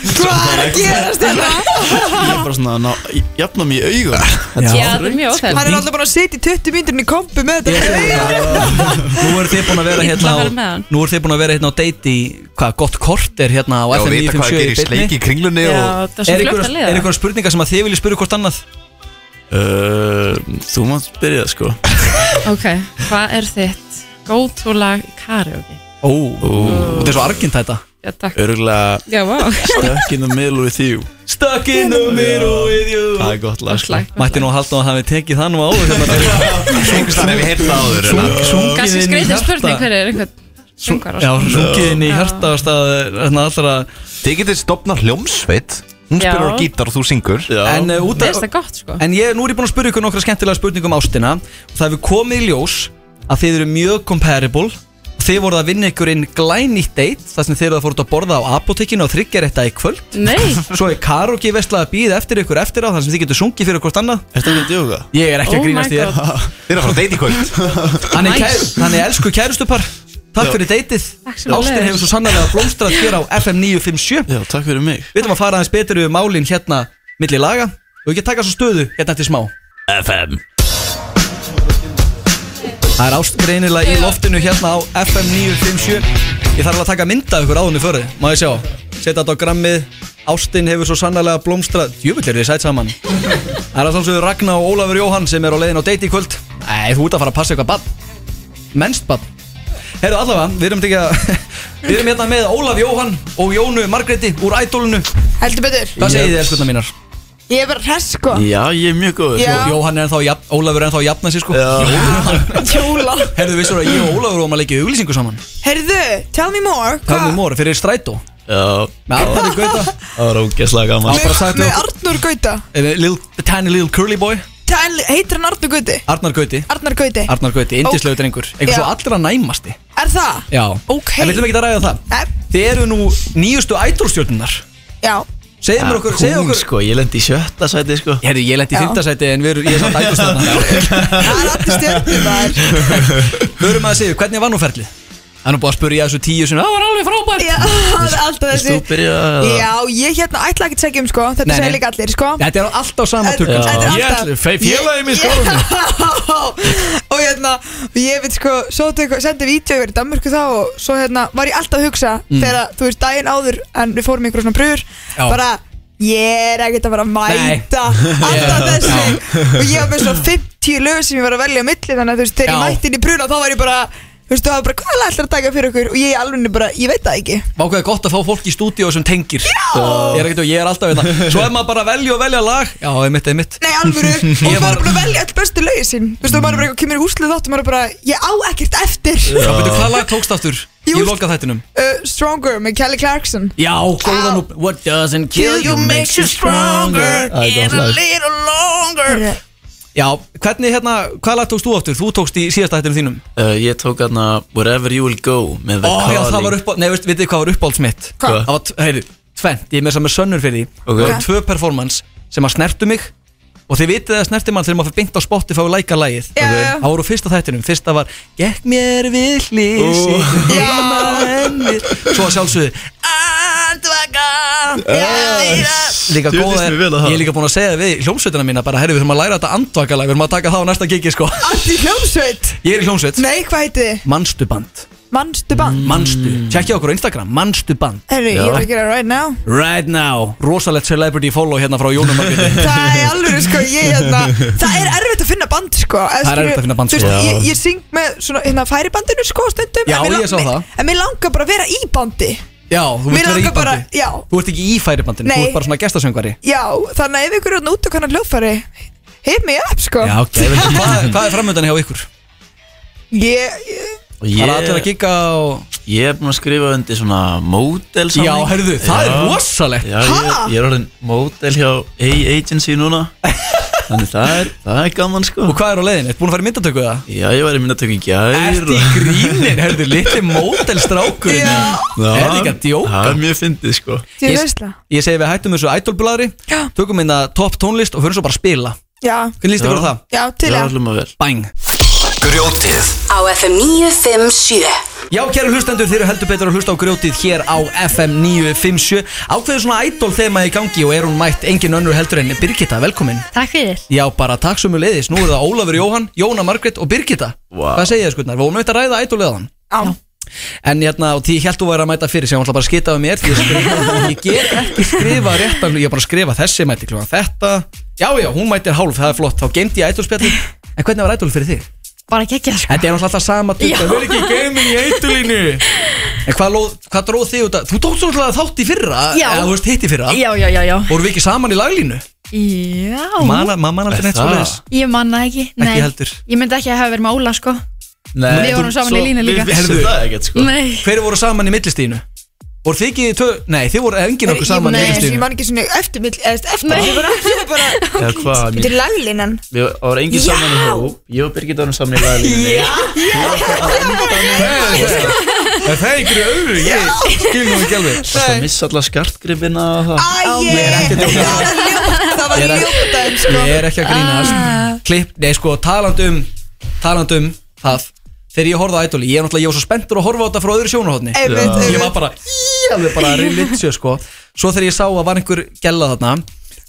Speaker 15: Hvað er að gerast
Speaker 14: Ég er
Speaker 15: þetta?
Speaker 14: bara svona að ná, jafna mig í augun Þetta var
Speaker 13: Já, þetta er mjög óþægt.
Speaker 15: Hann er alltaf bara að setja í 20 myndurinn í kompu með þetta
Speaker 3: Nú eru þið búin að vera
Speaker 15: Illa
Speaker 3: hérna
Speaker 15: farið með
Speaker 3: á,
Speaker 15: hann.
Speaker 3: Nú eru þið búin að vera hérna á date í Hvað gott kort er hérna á
Speaker 10: Já,
Speaker 3: FM
Speaker 10: vita
Speaker 3: 957
Speaker 10: hvað gerir um í
Speaker 3: beinni.
Speaker 10: sleik í Kringlunni
Speaker 13: og- Já, þetta er
Speaker 3: Er
Speaker 13: svo fljótt að
Speaker 3: einhverjar-
Speaker 13: leiða.
Speaker 3: er einhverjar spurningar sem að þið viljið spyrja hvort annað?
Speaker 14: Uh, þú mátt byrja sko
Speaker 13: Ok, hvað er þitt góðtúlag karaoke?
Speaker 3: Ó, þetta er svo argint þetta
Speaker 13: Já, takk.
Speaker 14: Örgulega
Speaker 13: Já, vá.
Speaker 14: Stuck in the middle with you
Speaker 3: Stuck in the middle with you
Speaker 14: Það er gott lag sko.
Speaker 3: Mætti nú að halda að hafi tekið það nú áður hérna
Speaker 10: Einhverstaðar hef ég heyrt það áður, en að-
Speaker 3: Sungið inn
Speaker 13: Kanski
Speaker 3: í
Speaker 13: skreitir
Speaker 3: hjarta.
Speaker 13: spurning hver er einhvern sungar
Speaker 3: Já, sungið inn í hjarta á stað Þannig allra
Speaker 10: Þið getið stopnað hljómsveit Hún
Speaker 13: Já.
Speaker 10: spilur á gítar og þú syngur
Speaker 3: En, uh, út
Speaker 13: Mér
Speaker 3: af-
Speaker 13: finnst það gott, sko.
Speaker 3: En ég, nú er ég búin að spyrja ykkur nokkra skemmtilega spurningum um ástina og það hefur komið í ljós að þið eru mjög comparable og þið voruð að vinna ykkur inn glænýtt date þar sem þið eru að fóruð að borða á apotekinu og þryggja þetta í kvöld
Speaker 13: Nei.
Speaker 3: Svo er karaoke veslað að býða eftir ykkur eftir á þar sem þið getur sungið fyrir hvort annað
Speaker 14: Er þetta ekki að djóka?
Speaker 3: Ég er ekki
Speaker 13: Oh
Speaker 3: að grínast
Speaker 13: my
Speaker 3: í þér
Speaker 13: God.
Speaker 10: Þið eru að fara að date í kvöld
Speaker 3: Þannig, kæru, þannig elsku kærustupar Takk
Speaker 14: Já.
Speaker 3: fyrir deytið
Speaker 13: Takk sem
Speaker 3: Ástin
Speaker 13: leiðis.
Speaker 3: hefur svo sannlega blómstrað hér á FM 957
Speaker 14: Já, takk fyrir mig
Speaker 3: Við ætlum að fara aðeins betur yfir málin hérna milli laga og við getum taka svo stöðu hérna eftir smá
Speaker 14: FM
Speaker 3: Það er ást greinilega í loftinu hérna á FM 957 Ég þarf alveg að taka mynda ykkur áðunni fyrir Má ég sjá, setja þetta á grammið Ástin hefur svo sannlega blómstrað Djöfull er þið sætt saman Það er að sjálfsögðu Ragnar og Ólafur Jóhann sem er á leiðin á date í kvöld Nei, þú ert að fara að passa eitthvað bann Menst bann Herru allavega, við erum, ekki að, við erum hérna með Ólaf Jóhann og Jónu Margréti úr Ædólinu
Speaker 15: Heldur betur
Speaker 3: Hvað segir þið elskurna mínar?
Speaker 15: Ég er bara hress sko
Speaker 14: Já, ég er mjög góður
Speaker 15: Já.
Speaker 3: Jóhann er ennþá, jafn, Ólafur er ennþá að jafna sér sko
Speaker 15: Jóla
Speaker 3: Herru, vissur að ég og Ólafur vorum að leggja auglýsingu saman
Speaker 15: Herðu, tell me more
Speaker 3: Hvað er mór fyrir strætó?
Speaker 14: Já
Speaker 3: Með Arnari Gauta
Speaker 14: Það var ógeðslega gaman
Speaker 3: Hann bara sagði
Speaker 15: Með
Speaker 3: okkur
Speaker 15: Arnur Gauta
Speaker 3: eh, little- Tiny little curly boy
Speaker 15: Tell- Heitir hann Arnur Gauti?
Speaker 3: Arnar Gauti
Speaker 15: Arnar Gauti
Speaker 3: Arnar Gauti, indislegu drengur Einhver
Speaker 15: Já.
Speaker 3: svo allra næmasti
Speaker 15: Er það?
Speaker 3: Já
Speaker 15: Ok.
Speaker 3: En við ætlum ekki að ræða það Þið eru nú nýjustu ædolstjórnunar
Speaker 15: Já
Speaker 3: Segðu mér okkur, segðu okkur
Speaker 14: sko, ég lendi í sjötta sæti sko
Speaker 3: Herri, ég lendi
Speaker 14: Já.
Speaker 3: í fymta sæti en við erum, ég er samt ædolstjórnunar Hörum að segja, hvernig var nú ferlið? Það er nú búið að spurja þessu tíu sinni Það var alveg frábært
Speaker 15: Já, það er alltaf þessi
Speaker 3: Vilt þú byrja eða?
Speaker 15: Já, ég hérna ætla ekki að segja um sko Þetta
Speaker 3: Nei, nei.
Speaker 15: segja líka allir sko
Speaker 3: Þetta er alltaf sama
Speaker 15: Þetta-
Speaker 3: tökum sko.
Speaker 15: þetta er alltaf-
Speaker 14: félagið minn
Speaker 15: Já, og hérna og ég veit sko, svo tök, sendi vídeo yfir í Danmörku þá og svo hérna var ég alltaf að hugsa
Speaker 3: Mm.
Speaker 15: þegar þú veist daginn áður en við fórum í einhverjum svona brúður
Speaker 3: Já.
Speaker 15: bara ég er ekkert að fara að mæta alltaf þessu og ég var með svona 50 lög sem ég var að velja á milli þannig að þú veist þegar ég
Speaker 3: Já.
Speaker 15: mætti inn í brúna þá var ég bara þú veist þú hafa bara hvað er alltaf að taka fyrir okkur og ég alveg bara ég veit það ekki
Speaker 3: Vá hvað er gott að fá fólk í stúdíu sem tengir Ég er ekkert og ég er alltaf við það Svo er maður bara að velja og velja lag Já, einmitt, einmitt
Speaker 15: Nei, alvöru Og
Speaker 3: Ég
Speaker 15: maður
Speaker 3: var
Speaker 15: er búin að velja all bestu lögin sín Þú veist, og maður er bara eitthvað kemur í húslið þátt og maður er bara Ég á ekkert eftir
Speaker 3: Já, betur hvað lag tókst aftur? Ég loka þættinum
Speaker 15: Uh, Stronger með Kelly Clarkson
Speaker 3: Já, góðan og What doesn't kill you makes you stronger
Speaker 15: In a little longer
Speaker 3: Já, hvernig hérna, hvað lag tókst þú aftur? Þú tókst í síðasta hættinu þínum
Speaker 14: uh, Ég tók aðna Wherever you will go Með The
Speaker 3: Ó, já,
Speaker 14: Calling
Speaker 3: það var uppáld, nei, veist, vitið hvað var uppálds mitt?
Speaker 14: Hvað?
Speaker 3: Það var, heyri, tvent, ég er með saman sönnur fyrir því
Speaker 14: Ok.
Speaker 3: Það eru tvö performance sem að snertu mig Og þið vitið að snerti mann þegar maður fyrir beint á Spotify og læka lagið
Speaker 15: Já, já, já.
Speaker 3: Það voru fyrsta þættinum, fyrsta var Gekk mér við hlýsi
Speaker 15: Ú. Já.
Speaker 3: Svo að sjálfsögðu Líka
Speaker 15: Djú,
Speaker 3: góða
Speaker 15: líst
Speaker 3: er,
Speaker 15: mér vel á það.
Speaker 3: ég er líka búin að segja við hljómsveitina mína bara, herri við þurfum að læra þetta andvakalag, við þurfum að taka það á næsta gigi sko
Speaker 15: Allt í hljómsveit
Speaker 3: Ég er í hljómsveit,
Speaker 15: Nei, hvað heiti þið?
Speaker 3: mannstu band
Speaker 15: Manstu
Speaker 3: Mm.
Speaker 15: band?
Speaker 3: Mannstu, tjekkja okkur á Instagram, mannstu band
Speaker 15: Herri, ég er að gera right now
Speaker 3: Right now, rosalegt celebrity follow hérna frá Jónum
Speaker 15: Það er alveg, sko, ég hérna Það er erfitt að finna band, sko eða
Speaker 3: Það er
Speaker 15: skilur-
Speaker 3: erfitt að finna band,
Speaker 15: þú
Speaker 3: sko.
Speaker 15: veist,
Speaker 3: Já.
Speaker 15: Ég, ég syng með, svona, hérna, færibandinu, sko, stundum
Speaker 3: Já,
Speaker 15: en mér lang-
Speaker 3: ég sá
Speaker 15: mér-
Speaker 3: það.
Speaker 15: En mér langar bara að vera í bandi
Speaker 3: Já, þú
Speaker 15: Mér
Speaker 3: vilt vera í
Speaker 15: langar bara,
Speaker 3: bandi
Speaker 15: já
Speaker 3: Þú ert ekki í færibandinu,
Speaker 15: Nei.
Speaker 3: þú ert bara svona gestasöngvari
Speaker 15: Já, þannig að ef ykkur er hérna út og kannar hljófari Hit me up, sko
Speaker 3: Já, ok, hvað, hvað er framöndan hjá ykkur?
Speaker 15: Ég,
Speaker 3: Það er allir að gigga á
Speaker 14: Ég er búinn að skrifa undir svona mótel
Speaker 3: Já, heyrðu, það er rosalegt.
Speaker 14: Já, ég,
Speaker 3: Ha?
Speaker 14: ég er orðin mótel hjá A-Agency núna Þannig það er, það er gaman sko Og
Speaker 3: hvað er á leiðin? Ertu búin að fara í myndatöku það?
Speaker 14: Já, ég var í myndatöku í gær
Speaker 3: Ertu í grínin, herðu, litli mótelstrákurinn
Speaker 14: Já.
Speaker 3: Er ekki að djóka?
Speaker 14: Það er mjög fyndið sko
Speaker 15: Því
Speaker 3: Ég-
Speaker 15: veistla.
Speaker 3: Ég segi við hættum þessu idolbladri Tökum minna topp tónlist og förum svo bara að spila
Speaker 15: já
Speaker 3: Hvernig líst ykkur á það?
Speaker 15: Já, til að
Speaker 14: hlum að vel
Speaker 3: Bang
Speaker 1: Grjótið
Speaker 2: Á FM 957
Speaker 3: Já, kæru hlustendur, þeir eru heldur betur að hlusta á grjótið hér á FM 957 Ákveður svona idol þema í gangi og er hún mætt engin önnur heldur en Birgitta, velkomin
Speaker 16: Takk fyrir
Speaker 3: Já, bara takk sem við leiðis, nú eru það Ólafur Jóhann, Jóna Margrét og Birgitta wow. Hvað segja þið skurnar, við vorum auðvitað að ræða idolleðan
Speaker 15: Já
Speaker 3: En hérna, og því ég held þú væri að mæta fyrir sem hún ætla bara að skita um mér Því ég, skrifa, ég get ekki skrifa rétt af, Ég er bara að skrifa þessi mæti klukkan þetta Já, já, hún mætir hálf, það er flott Þá geimdi ég idolspjalli En hvernig var idol fyrir þig?
Speaker 16: Bara geggja sko
Speaker 3: Þetta er náttúrulega alltaf sama
Speaker 16: Já.
Speaker 3: tukka Við erum ekki geimin í eitulínu En hvað, ló, hvað dróð þig út að Þú tókst náttúrulega þátt í fyrra
Speaker 16: Já.
Speaker 3: Eða þú veist hitt í fyrra
Speaker 16: Já, já, já, já
Speaker 3: Vorum við ekki saman í laglínu?
Speaker 16: Já
Speaker 3: Manna man aldrei neitt svo leiðis
Speaker 16: Ég manna ekki
Speaker 3: Ekki
Speaker 16: nei.
Speaker 3: heldur.
Speaker 16: Ég myndi ekki að hafa verið með Óla sko Við vorum saman í línu líka
Speaker 14: sko.
Speaker 16: Nei
Speaker 3: Hverju voru saman í millistíðinu? Voru þið ekki tö... Nei, þið voru engin okkur saman í
Speaker 15: Nei, ég
Speaker 3: millistíðinu
Speaker 15: man ekki svona eftir Eftir, eftir,
Speaker 16: Nei.
Speaker 15: ég bara- ég bara
Speaker 14: Eða hvað
Speaker 15: Þetta er laglinan
Speaker 14: Við varum engin saman í hóp Ég og Birgit varum saman í laglínu
Speaker 3: Er það einhverju öðru? Ég skil nú ekki alveg
Speaker 14: Þú varst að missa alla skartgripina og það
Speaker 15: Æ, ég er
Speaker 3: ekki
Speaker 15: Það var
Speaker 3: Ég er ekki-
Speaker 15: ljótaðum, sko Ah.
Speaker 3: Ég er ekki að grínast Klipp, nei sko, talandum Talandum, um það Þegar ég horfði á ædoli, ég er náttúrulega, ég var svo spenntur að horfa á þetta frá öðru sjónarhóttni
Speaker 15: Einmitt, einmitt.
Speaker 3: Ég var bara, í, alveg bara religious sko Svo þegar ég sá að var einhver gæla þarna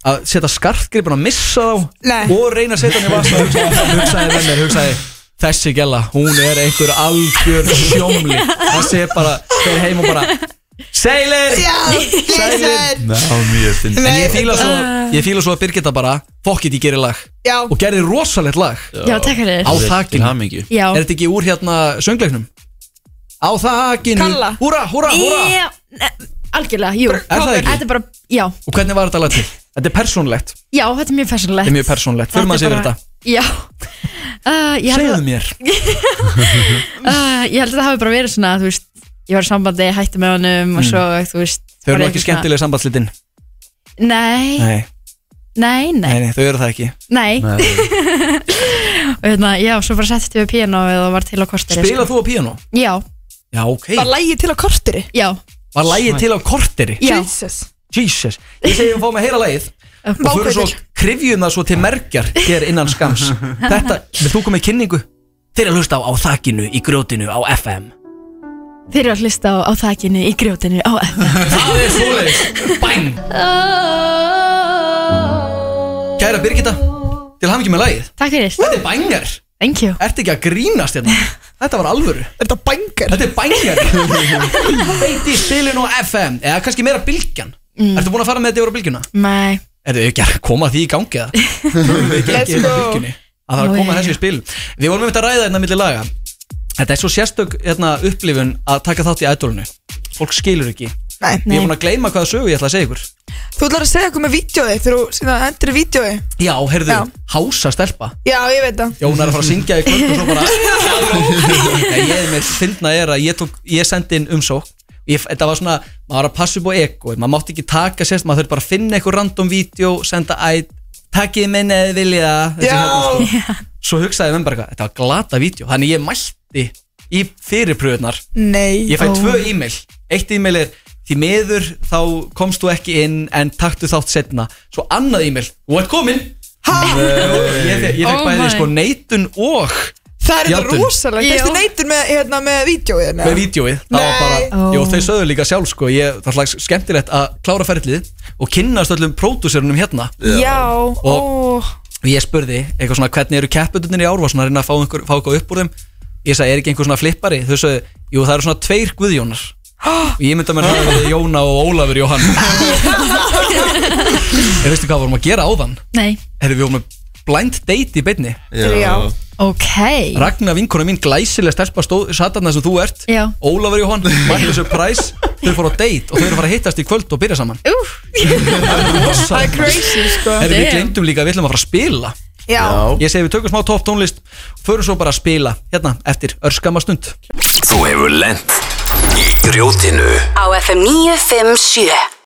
Speaker 3: Að setja skartgripin að missa þá
Speaker 15: Nei.
Speaker 3: Og reyna að setja hann í vasna Hugsaði hugsaði með mér, hugsaði Þessi gæla, hún er einhver algjör sjómli Þessi er bara, þeir heim og bara Seilir
Speaker 15: Já,
Speaker 3: Sælir.
Speaker 15: leyser
Speaker 14: Ná, mjög fyndið
Speaker 3: En ég fíla svo, ég fíla svo að Birgitta bara Fuck it, ég gerir lag
Speaker 15: Já.
Speaker 3: Og gerir rosalegt lag
Speaker 16: Já, takk fyrir.
Speaker 3: Á
Speaker 16: Til
Speaker 3: þakinu
Speaker 14: hamingju.
Speaker 16: Já.
Speaker 3: Er þetta ekki úr hérna söngleiknum? Á þakinu
Speaker 16: Kalla
Speaker 3: Húra, húra, húra
Speaker 16: Já, ne- Algjörlega, jú
Speaker 3: Er það ekki?
Speaker 16: Þetta er bara, já
Speaker 3: Og hvernig var þetta lag til? Þetta er persónlegt
Speaker 16: Já, þetta er mjög
Speaker 3: Þetta
Speaker 16: færsynlegt
Speaker 3: er mjög persónlegt Fyrir maður sér þetta
Speaker 16: Já uh, ég held
Speaker 3: Segðu
Speaker 16: að-
Speaker 3: mér
Speaker 16: uh, Ég held að það hafi bara verið svona, þú veist Ég var í sambandi, hætti með honum
Speaker 3: Mm.
Speaker 16: og svo, þú veist
Speaker 3: Þau eru
Speaker 16: bara
Speaker 3: nú ekki
Speaker 16: eitthvað svona-
Speaker 3: skemmtilega sambandslitin
Speaker 16: Nei, nei,
Speaker 3: nei,
Speaker 16: nei,
Speaker 3: nei, nei, þau eru það ekki
Speaker 16: Nei,
Speaker 3: Nei.
Speaker 16: Og hérna, já, svo bara settist ég við píanóið og var til á korteri
Speaker 3: Spila þú á píano?
Speaker 16: Já,
Speaker 3: Já, ok
Speaker 15: lægið til á korteri?
Speaker 16: já
Speaker 3: Var lagið til á korteri?
Speaker 16: Já.
Speaker 15: Jesus
Speaker 3: Jesus Ég segi um fáum að heyra lagið Og fyrir svo krifjum það svo til merkjar Hér innan skams Þetta, vil þú koma í kynningu? Þeir eru að hlusta á, á þakinu, í grjótinu, á FM
Speaker 16: Þeir eru að hlusta á, á þakinu í grjótinu á
Speaker 3: Það er svoleiðis Bæn Kæra Birgitta Til hafa ekki með lagið
Speaker 16: Takk fyrir
Speaker 3: Þetta er bængar
Speaker 16: Thank you
Speaker 3: Ertu ekki að grínast hérna? Þetta var alvöru
Speaker 15: Þetta er bængar
Speaker 3: Þetta er bængar Beiti í spilinu á FM Eða kannski meira bylgjan
Speaker 16: Mm.
Speaker 3: Ertu búin að fara með þetta yfir á bylgjuna?
Speaker 13: Mm.
Speaker 16: Nei,
Speaker 3: Er þau ekki að koma því í gangi eða? Höfum við ekki
Speaker 16: Let's
Speaker 3: ekki yfir
Speaker 16: go.
Speaker 3: bylgjunni? Að það er að koma þessu í spil Við vorum einmitt að ræða hérna milli laga Þetta er svo sérstök hérna, upplifun að taka þátt í ædolinu Fólk skilur ekki
Speaker 15: Nei.
Speaker 3: Ég er búin að gleyma hvaða sögu ég ætla að segja ykkur
Speaker 15: Þú ætlar að segja eitthvað með vídjói Þegar þú síðan endur í vídjói
Speaker 3: Já, heyrðu,
Speaker 15: Já.
Speaker 3: hása stelpa
Speaker 15: Já, ég veit það
Speaker 3: Jón er að fara að syngja í kvöld og svo bara Nei, ég er með fyndna er að ég, tók, ég sendi inn umsók ég, Þetta var svona, maður var að passa upp á ego Maður mátti ekki taka sérst, maður þurfti bara að finna eitthvað random vídeo Senda æ, takkið minn eða þið vilja það hérna-
Speaker 15: Já.
Speaker 3: Svo hugsaði ég með bara eitthvað, þetta var glata vídeo Þannig ég mætti í fyrirpröðunar
Speaker 15: Nei
Speaker 3: Ég fæ tvö e-mail Eitt e-mail er því miður þá komst þú ekki inn en taktu þátt setna svo annað e-mail, þú ert komin ha? ég fe- ég fekk
Speaker 15: Oh
Speaker 3: bæði
Speaker 15: my.
Speaker 3: sko neitun og
Speaker 15: Það er þetta
Speaker 3: játun
Speaker 15: rosalega Fyrstu neytur með, hérna, með vídjóið
Speaker 3: með vídjóið það var bara,
Speaker 15: Nei.
Speaker 3: jú þau sögðu líka sjálf sko ég, það var slags skemmtilegt að klára ferlið og kynnast öllum pródúsörunum hérna
Speaker 15: Já,
Speaker 3: og
Speaker 15: ó
Speaker 3: ég spurði eitthvað svona hvernig eru keppundunir í ár var svona að reyna að fá, einhver, fá eitthvað upp úr þeim ég sagði er ekki einhver svona flippari þau sögðu, jú það eru svona tveir guðjónar og ég mynda mér að það verið Jóna og Ólafur Jóhann ég veistu hvað vorum að gera áðan
Speaker 16: Nei,
Speaker 3: Herri, við vorum með blind date í beinni
Speaker 16: Já. ok
Speaker 3: Ragnar vinkona mín glæsilega stelpa stóð satarna sem þú ert
Speaker 16: Já.
Speaker 3: Ólafur Jóhann, Michael Surprise þau fóru á date og þau eru að fara að hittast í kvöld og byrja saman
Speaker 16: Úf
Speaker 15: Það er crazy sko
Speaker 3: Herri, við glemdum líka, að við ætlum að fara að spila
Speaker 15: Já.
Speaker 3: Ég segi við tökum smá topp tónlist Förum svo bara að spila, hérna, eftir örskama stund
Speaker 1: Þú hefur lent í grjótinu
Speaker 2: Á FM 957